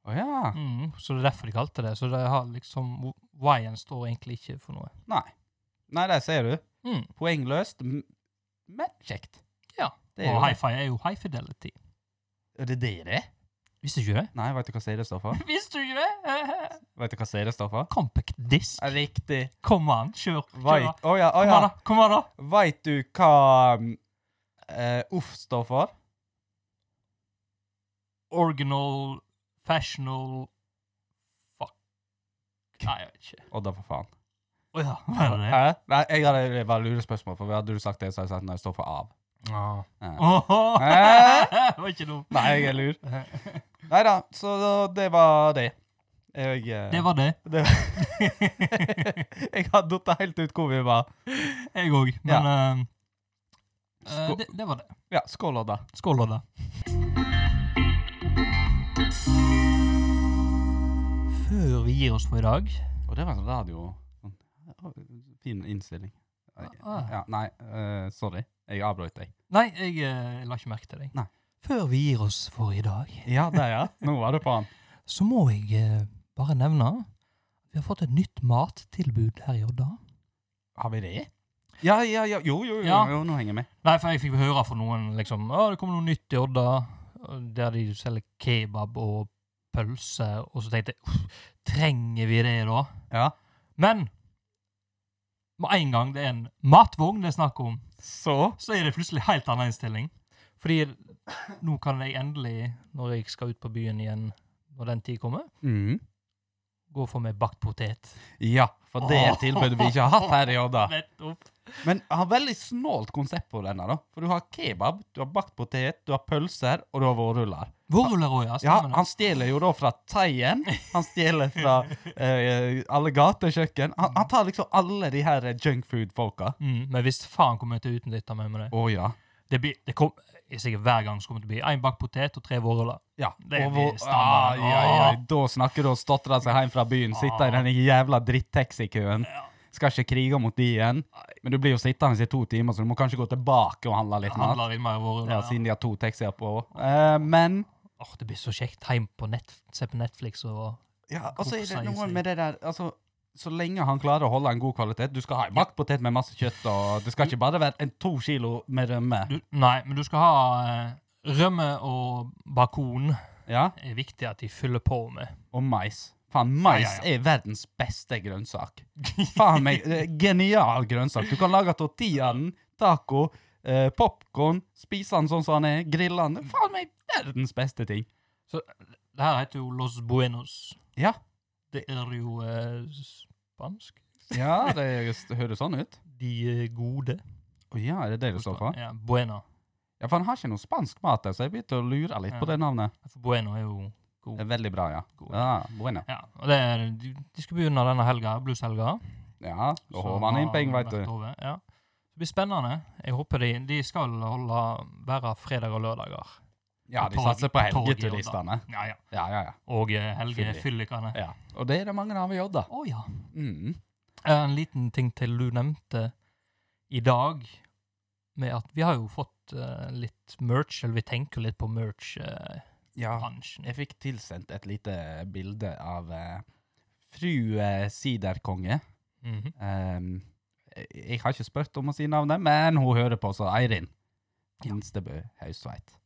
[SPEAKER 1] Å ja.
[SPEAKER 2] Mm, så det er derfor de kalte det. Så det har liksom Y-en står egentlig ikke for noe.
[SPEAKER 1] Nei. Nei, der ser du.
[SPEAKER 2] Mm.
[SPEAKER 1] Poengløst, m- men kjekt.
[SPEAKER 2] Ja.
[SPEAKER 1] Det er
[SPEAKER 2] Og
[SPEAKER 1] jo det.
[SPEAKER 2] hifi er jo high fidelity.
[SPEAKER 1] Er det det det er?
[SPEAKER 2] Visste du ikke det?
[SPEAKER 1] Nei, veit du hva CD står for?
[SPEAKER 2] Visste du ikke det?
[SPEAKER 1] Vet du hva CD står for?
[SPEAKER 2] Compact disk.
[SPEAKER 1] Riktig.
[SPEAKER 2] Kom an, kjør. kjør da.
[SPEAKER 1] Veit Å ja, å
[SPEAKER 2] Kom
[SPEAKER 1] ja.
[SPEAKER 2] an, da. Kom an, da.
[SPEAKER 1] Veit du hva mm, eh, Uff står for?
[SPEAKER 2] Organal, fashional Fuck. Nei, jeg vet ikke.
[SPEAKER 1] Odda, for faen.
[SPEAKER 2] Å ja, hva er det?
[SPEAKER 1] Hæ? Nei, jeg hadde det var lurespørsmål, for hadde du sagt det, så hadde jeg sagt nei, det står for av.
[SPEAKER 2] Ah.
[SPEAKER 1] Ja.
[SPEAKER 2] Åhå.
[SPEAKER 1] Hæ?
[SPEAKER 2] Det var ikke dumt.
[SPEAKER 1] Nei, jeg er lur. Nei da, så da- det var det. Jeg, eh,
[SPEAKER 2] Det var det.
[SPEAKER 1] det jeg har datt helt ut hvor vi var.
[SPEAKER 2] Jeg òg. Men eh, eh,
[SPEAKER 1] Skå-
[SPEAKER 2] det, det var det.
[SPEAKER 1] Ja, skål, Odda.
[SPEAKER 2] Skål, Odda. Før vi gir oss for i dag
[SPEAKER 1] Og det var sånn radio sånn, Fin innstilling.
[SPEAKER 2] Ah.
[SPEAKER 1] Ja, nei, eh, sorry. Jeg avbrøt deg.
[SPEAKER 2] Nei, jeg eh, la ikke merke til deg.
[SPEAKER 1] Nei.
[SPEAKER 2] Før vi gir oss for i dag,
[SPEAKER 1] Ja, det, ja. Nå var du på han.
[SPEAKER 2] så må jeg eh, bare nevne vi har fått et nytt mattilbud her i Odda.
[SPEAKER 1] Har vi det? Ja, ja, ja. Jo, jo, jo.
[SPEAKER 2] Ja.
[SPEAKER 1] jo nå henger jeg med.
[SPEAKER 2] Nei, for jeg fikk høre fra noen liksom Å, det kommer noe nytt i Odda. Der de selger kebab og pølse. Og så tenkte jeg «Uff, Trenger vi det, da?
[SPEAKER 1] Ja.
[SPEAKER 2] Men med en gang det er en matvogn det er snakk om,
[SPEAKER 1] Så
[SPEAKER 2] så er det plutselig helt annen innstilling. Fordi nå kan jeg endelig, når jeg skal ut på byen igjen når den tid kommer,
[SPEAKER 1] mm.
[SPEAKER 2] gå og få meg bakt potet.
[SPEAKER 1] Ja, for det er et tilbud vi ikke har hatt her i Odda.
[SPEAKER 2] Nettopp.
[SPEAKER 1] Men jeg har veldig snålt konsept på denne, da. For du har kebab, du har bakt potet, du har pølser, og du har vårruller.
[SPEAKER 2] Vårruller òg, ja.
[SPEAKER 1] Ja,
[SPEAKER 2] stemmer det.
[SPEAKER 1] han stjeler jo da fra Thaien. Han stjeler fra eh, alle gatekjøkken. Han, han tar liksom alle de her junkfood-folka.
[SPEAKER 2] Mm, men hvis faen kommer jeg til å utnytte meg med det.
[SPEAKER 1] Å ja.
[SPEAKER 2] Det, blir, det kom, jeg er sikkert hver gang så kommer det til å bli én bakt potet og tre vårruller.
[SPEAKER 1] Ja,
[SPEAKER 2] Det
[SPEAKER 1] og
[SPEAKER 2] blir
[SPEAKER 1] hvor-
[SPEAKER 2] standard.
[SPEAKER 1] Ja, ja, ja. Da snakker du og stotrer seg hjem fra byen, sitter i den jævla drittaxikøen. Skal ikke krige mot de igjen. Men du blir jo sittende i to timer, så du må kanskje gå tilbake og handle litt
[SPEAKER 2] Jeg
[SPEAKER 1] mat.
[SPEAKER 2] handler litt mer vårruller.
[SPEAKER 1] Ja,
[SPEAKER 2] Ja,
[SPEAKER 1] siden de har to taxier på. Eh, men
[SPEAKER 2] Åh, det blir så kjekt. Heim på nett, se på Netflix og
[SPEAKER 1] ja, og så er
[SPEAKER 2] Hvorfor
[SPEAKER 1] det
[SPEAKER 2] sier
[SPEAKER 1] noe
[SPEAKER 2] seg?
[SPEAKER 1] med det der altså, Så lenge han klarer å holde en god kvalitet Du skal ha en bakt potet med masse kjøtt, og det skal ikke bare være en to kilo med rømme.
[SPEAKER 2] du, Nei, men du skal ha eh, rømme og bakon.
[SPEAKER 1] Ja,
[SPEAKER 2] Det er viktig at de fyller på med.
[SPEAKER 1] Og mais. Faen, mais
[SPEAKER 2] Ja,
[SPEAKER 1] er verdens beste grønnsak. Faen meg, det er genial grønnsak. Du kan lage tortillaen, taco, eh, popkorn, spise den sånn som den er, grille den. Faen meg, verdens beste ting.
[SPEAKER 2] Det her heter jo Los Buenos.
[SPEAKER 1] Ja.
[SPEAKER 2] Det er jo eh, spansk.
[SPEAKER 1] Ja, det høres sånn ut.
[SPEAKER 2] De eh, gode.
[SPEAKER 1] Å ja, er det det det står for?
[SPEAKER 2] Ja, Buena.
[SPEAKER 1] Ja, for han har ikke noe spansk mat der, så jeg begynte å lure litt
[SPEAKER 2] Ja.
[SPEAKER 1] på det navnet.
[SPEAKER 2] For Bueno er jo
[SPEAKER 1] Det er veldig bra, ja.
[SPEAKER 2] God.
[SPEAKER 1] Ja, bueno.
[SPEAKER 2] Ja, og det er, de, de skal begynne denne helga, blueshelga.
[SPEAKER 1] Ja, da
[SPEAKER 2] Så
[SPEAKER 1] håver han inn
[SPEAKER 2] har
[SPEAKER 1] penger, veit
[SPEAKER 2] vært
[SPEAKER 1] du.
[SPEAKER 2] over, Ja. Det blir spennende. Jeg håper de, de skal holde være fredag og lørdager.
[SPEAKER 1] Ja, de
[SPEAKER 2] Tog-
[SPEAKER 1] satser på
[SPEAKER 2] tog i Odda.
[SPEAKER 1] helgeturistene.
[SPEAKER 2] Ja, ja.
[SPEAKER 1] Ja, ja, ja.
[SPEAKER 2] Og eh, Helge
[SPEAKER 1] Fyllik.
[SPEAKER 2] Fyllikane.
[SPEAKER 1] ja. Og det er det mange av i Odda.
[SPEAKER 2] Å ja. Eh,
[SPEAKER 1] Mm.
[SPEAKER 2] En liten ting til du nevnte i dag, med at vi har jo fått eh, litt merch, eller vi tenker litt på merch-bransjen.
[SPEAKER 1] Ja, Jeg fikk tilsendt et lite bilde av eh, fru eh, Siderkonge.
[SPEAKER 2] Mhm.
[SPEAKER 1] Um, Jeg har ikke spurt om å si navnet, men hun hører på, så Eirin Instebø Haustveit.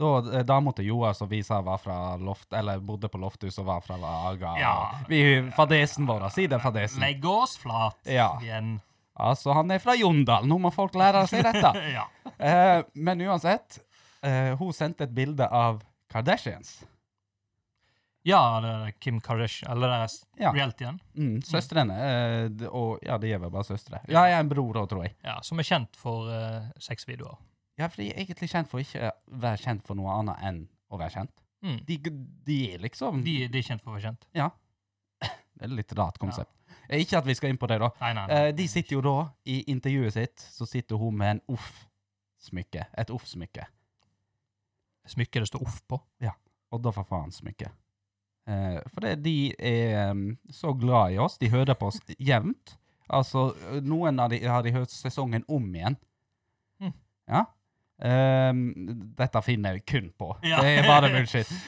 [SPEAKER 1] Da eh, dama til Joar som vi sa var fra loft, eller bodde på Lofthus og var fra Aga
[SPEAKER 2] Ja.
[SPEAKER 1] vi, Fadesen vår. Si det, fadesen.
[SPEAKER 2] Legg oss flat
[SPEAKER 1] Ja.
[SPEAKER 2] igjen.
[SPEAKER 1] Altså, han er fra Jondal. Nå må folk lære seg dette.
[SPEAKER 2] Ja.
[SPEAKER 1] Eh, men uansett, eh, hun sendte et bilde av Kardashians.
[SPEAKER 2] ja, det er Kim Kardashian, eller det er s-
[SPEAKER 1] Ja.
[SPEAKER 2] realityen,
[SPEAKER 1] Mm, søstrene. eh, d- og ja, de er vel bare søstre. Ja, jeg er en bror òg, tror jeg.
[SPEAKER 2] ja, som er kjent for uh, sexvideoer.
[SPEAKER 1] Ja, for de er egentlig kjent for ikke å være kjent for noe annet enn å være kjent.
[SPEAKER 2] Mm.
[SPEAKER 1] De, de er liksom
[SPEAKER 2] De, de er kjent for å være kjent.
[SPEAKER 1] Det er et litt rart konsept. Eh, Ikke at vi skal inn på det, da.
[SPEAKER 2] Nei, nei, nei.
[SPEAKER 1] Eh, de sitter jo da, i intervjuet sitt, så sitter hun med en uff-smykke. Et uff-smykke.
[SPEAKER 2] Smykket det står off på.
[SPEAKER 1] Odda for faen smykke. Eh, for det, de er um, så glad i oss. De hører på oss jevnt. Altså, ø, noen av de har de hørt sesongen om igjen.
[SPEAKER 2] Mm.
[SPEAKER 1] Ja. Ehm, dette finner jeg kun på.
[SPEAKER 2] Ja.
[SPEAKER 1] Det er bare bullshit.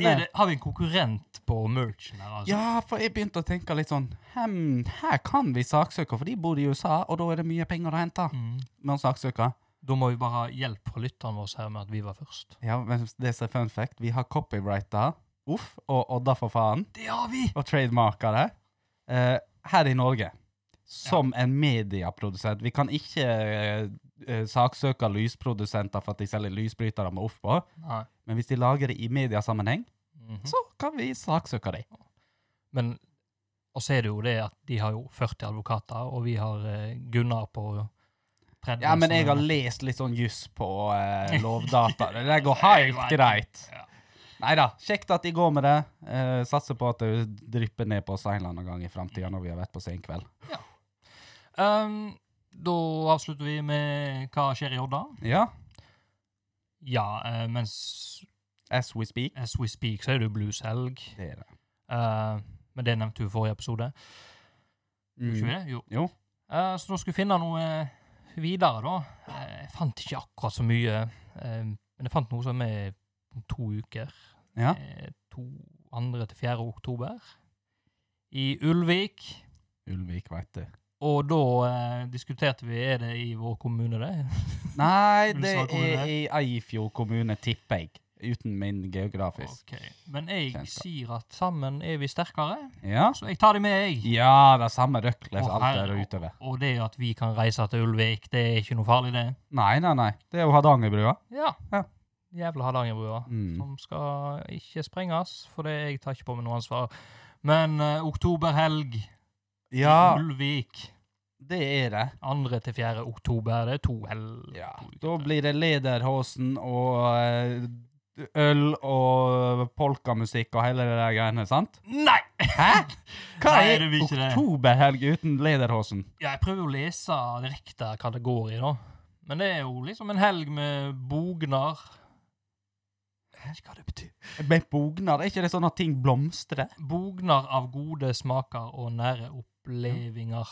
[SPEAKER 1] Men, eh,
[SPEAKER 2] er det, har vi en konkurrent på merchen her, altså?
[SPEAKER 1] Ja, for jeg begynte å tenke litt sånn Hm, her kan vi saksøke, for de bor i USA, og da er det mye penger å hente
[SPEAKER 2] Mm.
[SPEAKER 1] med å saksøke.
[SPEAKER 2] Da må vi bare ha hjelp fra lytterne våre her med at vi var først.
[SPEAKER 1] Ja, men det som er fun fact, vi har copyrighta, uff, og Odda for faen,
[SPEAKER 2] Det har vi!
[SPEAKER 1] og trademarker det, eh, her i Norge. Som en medieprodusent. Vi kan ikke eh, eh, saksøke lysprodusenter for at de selger lysbrytere med uff på,
[SPEAKER 2] Nei.
[SPEAKER 1] men hvis de lager det i mediesammenheng,
[SPEAKER 2] Mhm.
[SPEAKER 1] så kan vi saksøke dem.
[SPEAKER 2] Men og så er det jo det at de har jo 40 advokater, og vi har eh, Gunnar på 30.
[SPEAKER 1] Ja, men
[SPEAKER 2] som
[SPEAKER 1] jeg
[SPEAKER 2] er-
[SPEAKER 1] har lest litt sånn juss på eh, lovdata. Det der går helt greit.
[SPEAKER 2] Ja.
[SPEAKER 1] Nei da, kjekt at de går med det. Eh, satser på at det drypper ned på oss en eller annen gang i framtida når vi har vært på senkveld.
[SPEAKER 2] Ehm, da avslutter vi med hva skjer i Odda.
[SPEAKER 1] Ja,
[SPEAKER 2] Ja, eh, mens
[SPEAKER 1] as we speak.
[SPEAKER 2] as we speak, så er det jo blueshelg.
[SPEAKER 1] Det er det.
[SPEAKER 2] Eh, men det nevnte du i forrige episode. Gjorde ikke vi
[SPEAKER 1] Mm.
[SPEAKER 2] det? Jo.
[SPEAKER 1] Jo.
[SPEAKER 2] Eh, så da skulle vi finne noe eh, videre, da. Eh, jeg fant ikke akkurat så mye, eh, men jeg fant noe som er om to uker.
[SPEAKER 1] Ja.
[SPEAKER 2] Eh, to, andre til 4. oktober. I Ulvik.
[SPEAKER 1] Ulvik, veit du.
[SPEAKER 2] Og da eh, diskuterte vi er det i vår kommune, det.
[SPEAKER 1] Nei,
[SPEAKER 2] Vil du
[SPEAKER 1] det
[SPEAKER 2] svare kommune?
[SPEAKER 1] er i Eifjord kommune, tipper jeg. Uten min geografisk.
[SPEAKER 2] Ok. Men jeg
[SPEAKER 1] Kjennskap.
[SPEAKER 2] sier at sammen er vi sterkere,
[SPEAKER 1] Ja.
[SPEAKER 2] så jeg tar det med, jeg.
[SPEAKER 1] Ja, det er samme Røkles
[SPEAKER 2] Å,
[SPEAKER 1] alt der
[SPEAKER 2] herre-
[SPEAKER 1] utover.
[SPEAKER 2] Og det at vi kan reise til Ulvik, det er ikke noe farlig, det.
[SPEAKER 1] Nei, nei, nei. Det er jo Hardangerbrua.
[SPEAKER 2] Ja.
[SPEAKER 1] Ja.
[SPEAKER 2] Jævla Hardangerbrua.
[SPEAKER 1] Mm.
[SPEAKER 2] Som skal ikke sprenges, for det jeg tar ikke på meg noe ansvar. Men eh, oktoberhelg
[SPEAKER 1] Ja,
[SPEAKER 2] i Ulvik.
[SPEAKER 1] det er det.
[SPEAKER 2] 2. til 4. oktober. Det er to helg...
[SPEAKER 1] Ja,
[SPEAKER 2] to uker.
[SPEAKER 1] da blir det Lederhosen og eh, øl og polkamusikk og hele det der greiene, sant?
[SPEAKER 2] Nei!
[SPEAKER 1] Hæ? Hva
[SPEAKER 2] Nei,
[SPEAKER 1] er
[SPEAKER 2] det blir ikke det.
[SPEAKER 1] oktoberhelg uten Lederhosen?
[SPEAKER 2] Ja, jeg prøver jo å lese direkte hva det går i, da. Men det er jo liksom en helg med bogner. Jeg vet ikke hva det betyr.
[SPEAKER 1] Med bogner, er ikke det sånn at ting blomstrer?
[SPEAKER 2] Bogner av gode smaker og nære opplevinger.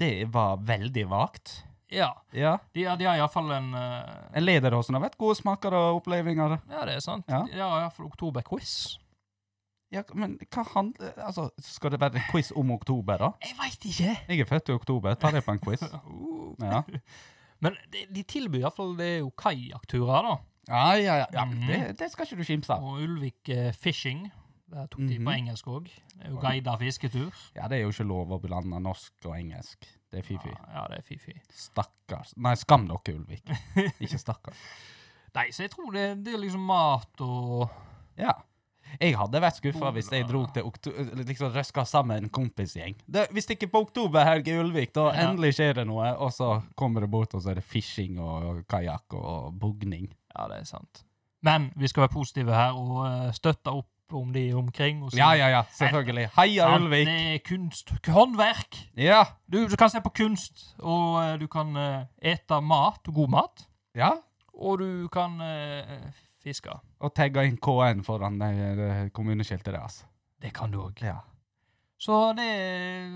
[SPEAKER 1] Det var veldig vagt.
[SPEAKER 2] Ja.
[SPEAKER 1] Ja.
[SPEAKER 2] De, har- de har iallfall en eh,
[SPEAKER 1] En Lederhosen har vært gode smaker og opplevelser.
[SPEAKER 2] Ja, det er sant.
[SPEAKER 1] Ja.
[SPEAKER 2] De har iallfall oktoberquiz.
[SPEAKER 1] Ja, men hva handler Altså, skal det være en quiz om oktober, da?
[SPEAKER 2] Jeg veit ikke!
[SPEAKER 1] Jeg er født i oktober, ta det på en quiz. Ja.
[SPEAKER 2] Men de, de tilbyr iallfall Det er jo kajakkturer, da.
[SPEAKER 1] Ja, ja, ja. ja men det, det skal ikke du kimse av.
[SPEAKER 2] Og Ulvik eh, Fishing. Der tok de på
[SPEAKER 1] Mhm.
[SPEAKER 2] engelsk òg. Det er jo guida fisketur.
[SPEAKER 1] Ja, det er jo ikke lov å blande norsk og engelsk. Det er fy-fy.
[SPEAKER 2] Ja, det er fy-fy.
[SPEAKER 1] Stakkars. Nei, skam dere, Ulvik. Ikke stakkars.
[SPEAKER 2] Nei, så jeg tror det, det er liksom mat og
[SPEAKER 1] Ja. Jeg hadde vært skuffa hvis jeg dro til okto- liksom røska sammen en kompisgjeng. Det, vi stikker på oktoberhelg i Ulvik, da
[SPEAKER 2] Ja.
[SPEAKER 1] endelig skjer det noe. Og så kommer det bort, og så er det fishing og kajakk og bugning.
[SPEAKER 2] Ja, det er sant. Men vi skal være positive her og eh, støtte opp om de omkring. Og si-
[SPEAKER 1] Ja, ja, ja, selvfølgelig. Heia
[SPEAKER 2] Sant,
[SPEAKER 1] Ulvik!
[SPEAKER 2] Det er kunst. k- Håndverk!
[SPEAKER 1] Ja,
[SPEAKER 2] Du, du kan se på kunst, og eh, du kan eh, ete mat, god mat,
[SPEAKER 1] ja.
[SPEAKER 2] og du kan eh, fiske.
[SPEAKER 1] Og tagga inn KN foran det- det kommuneskiltet altså. deres.
[SPEAKER 2] Det kan du òg.
[SPEAKER 1] Ja.
[SPEAKER 2] Så det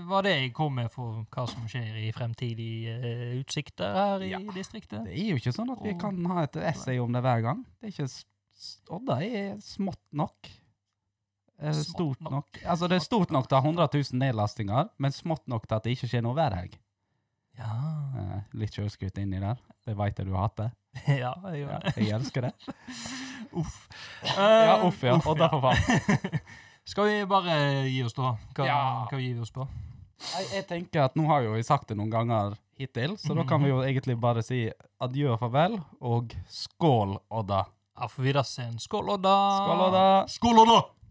[SPEAKER 2] var det jeg kom med for hva som skjer i fremtidige eh, utsikter her i
[SPEAKER 1] Ja.
[SPEAKER 2] distriktet.
[SPEAKER 1] Det er jo ikke sånn at vi
[SPEAKER 2] Og-
[SPEAKER 1] kan ha et essay om det hver gang. Det er ikke s- s- Odda er smått nok. Er det
[SPEAKER 2] Smått
[SPEAKER 1] Eh, stort
[SPEAKER 2] nok.
[SPEAKER 1] nok? Altså, det er stort nok til å ha 100 000 nedlastinger, men smått nok til at det ikke skjer noe hver helg.
[SPEAKER 2] Ja,
[SPEAKER 1] Eh, litt sjøskutt inni der. Det veit jeg du hater.
[SPEAKER 2] ja jeg gjør
[SPEAKER 1] Ja,
[SPEAKER 2] det.
[SPEAKER 1] jeg elsker det.
[SPEAKER 2] Uff.
[SPEAKER 1] Ja,
[SPEAKER 2] Eh,
[SPEAKER 1] uff, ja. Og derfor faen.
[SPEAKER 2] Skal vi bare gi oss, da? Hva,
[SPEAKER 1] Ja.
[SPEAKER 2] hva gir vi oss på?
[SPEAKER 1] Jeg, jeg tenker at nå har jo jeg sagt det noen ganger hittil, så da kan vi jo egentlig bare si adjø og farvel, og skål, Odda.
[SPEAKER 2] Ja, for vi da ser en skål, Odda!
[SPEAKER 1] Skål, Odda.
[SPEAKER 5] Skål, da!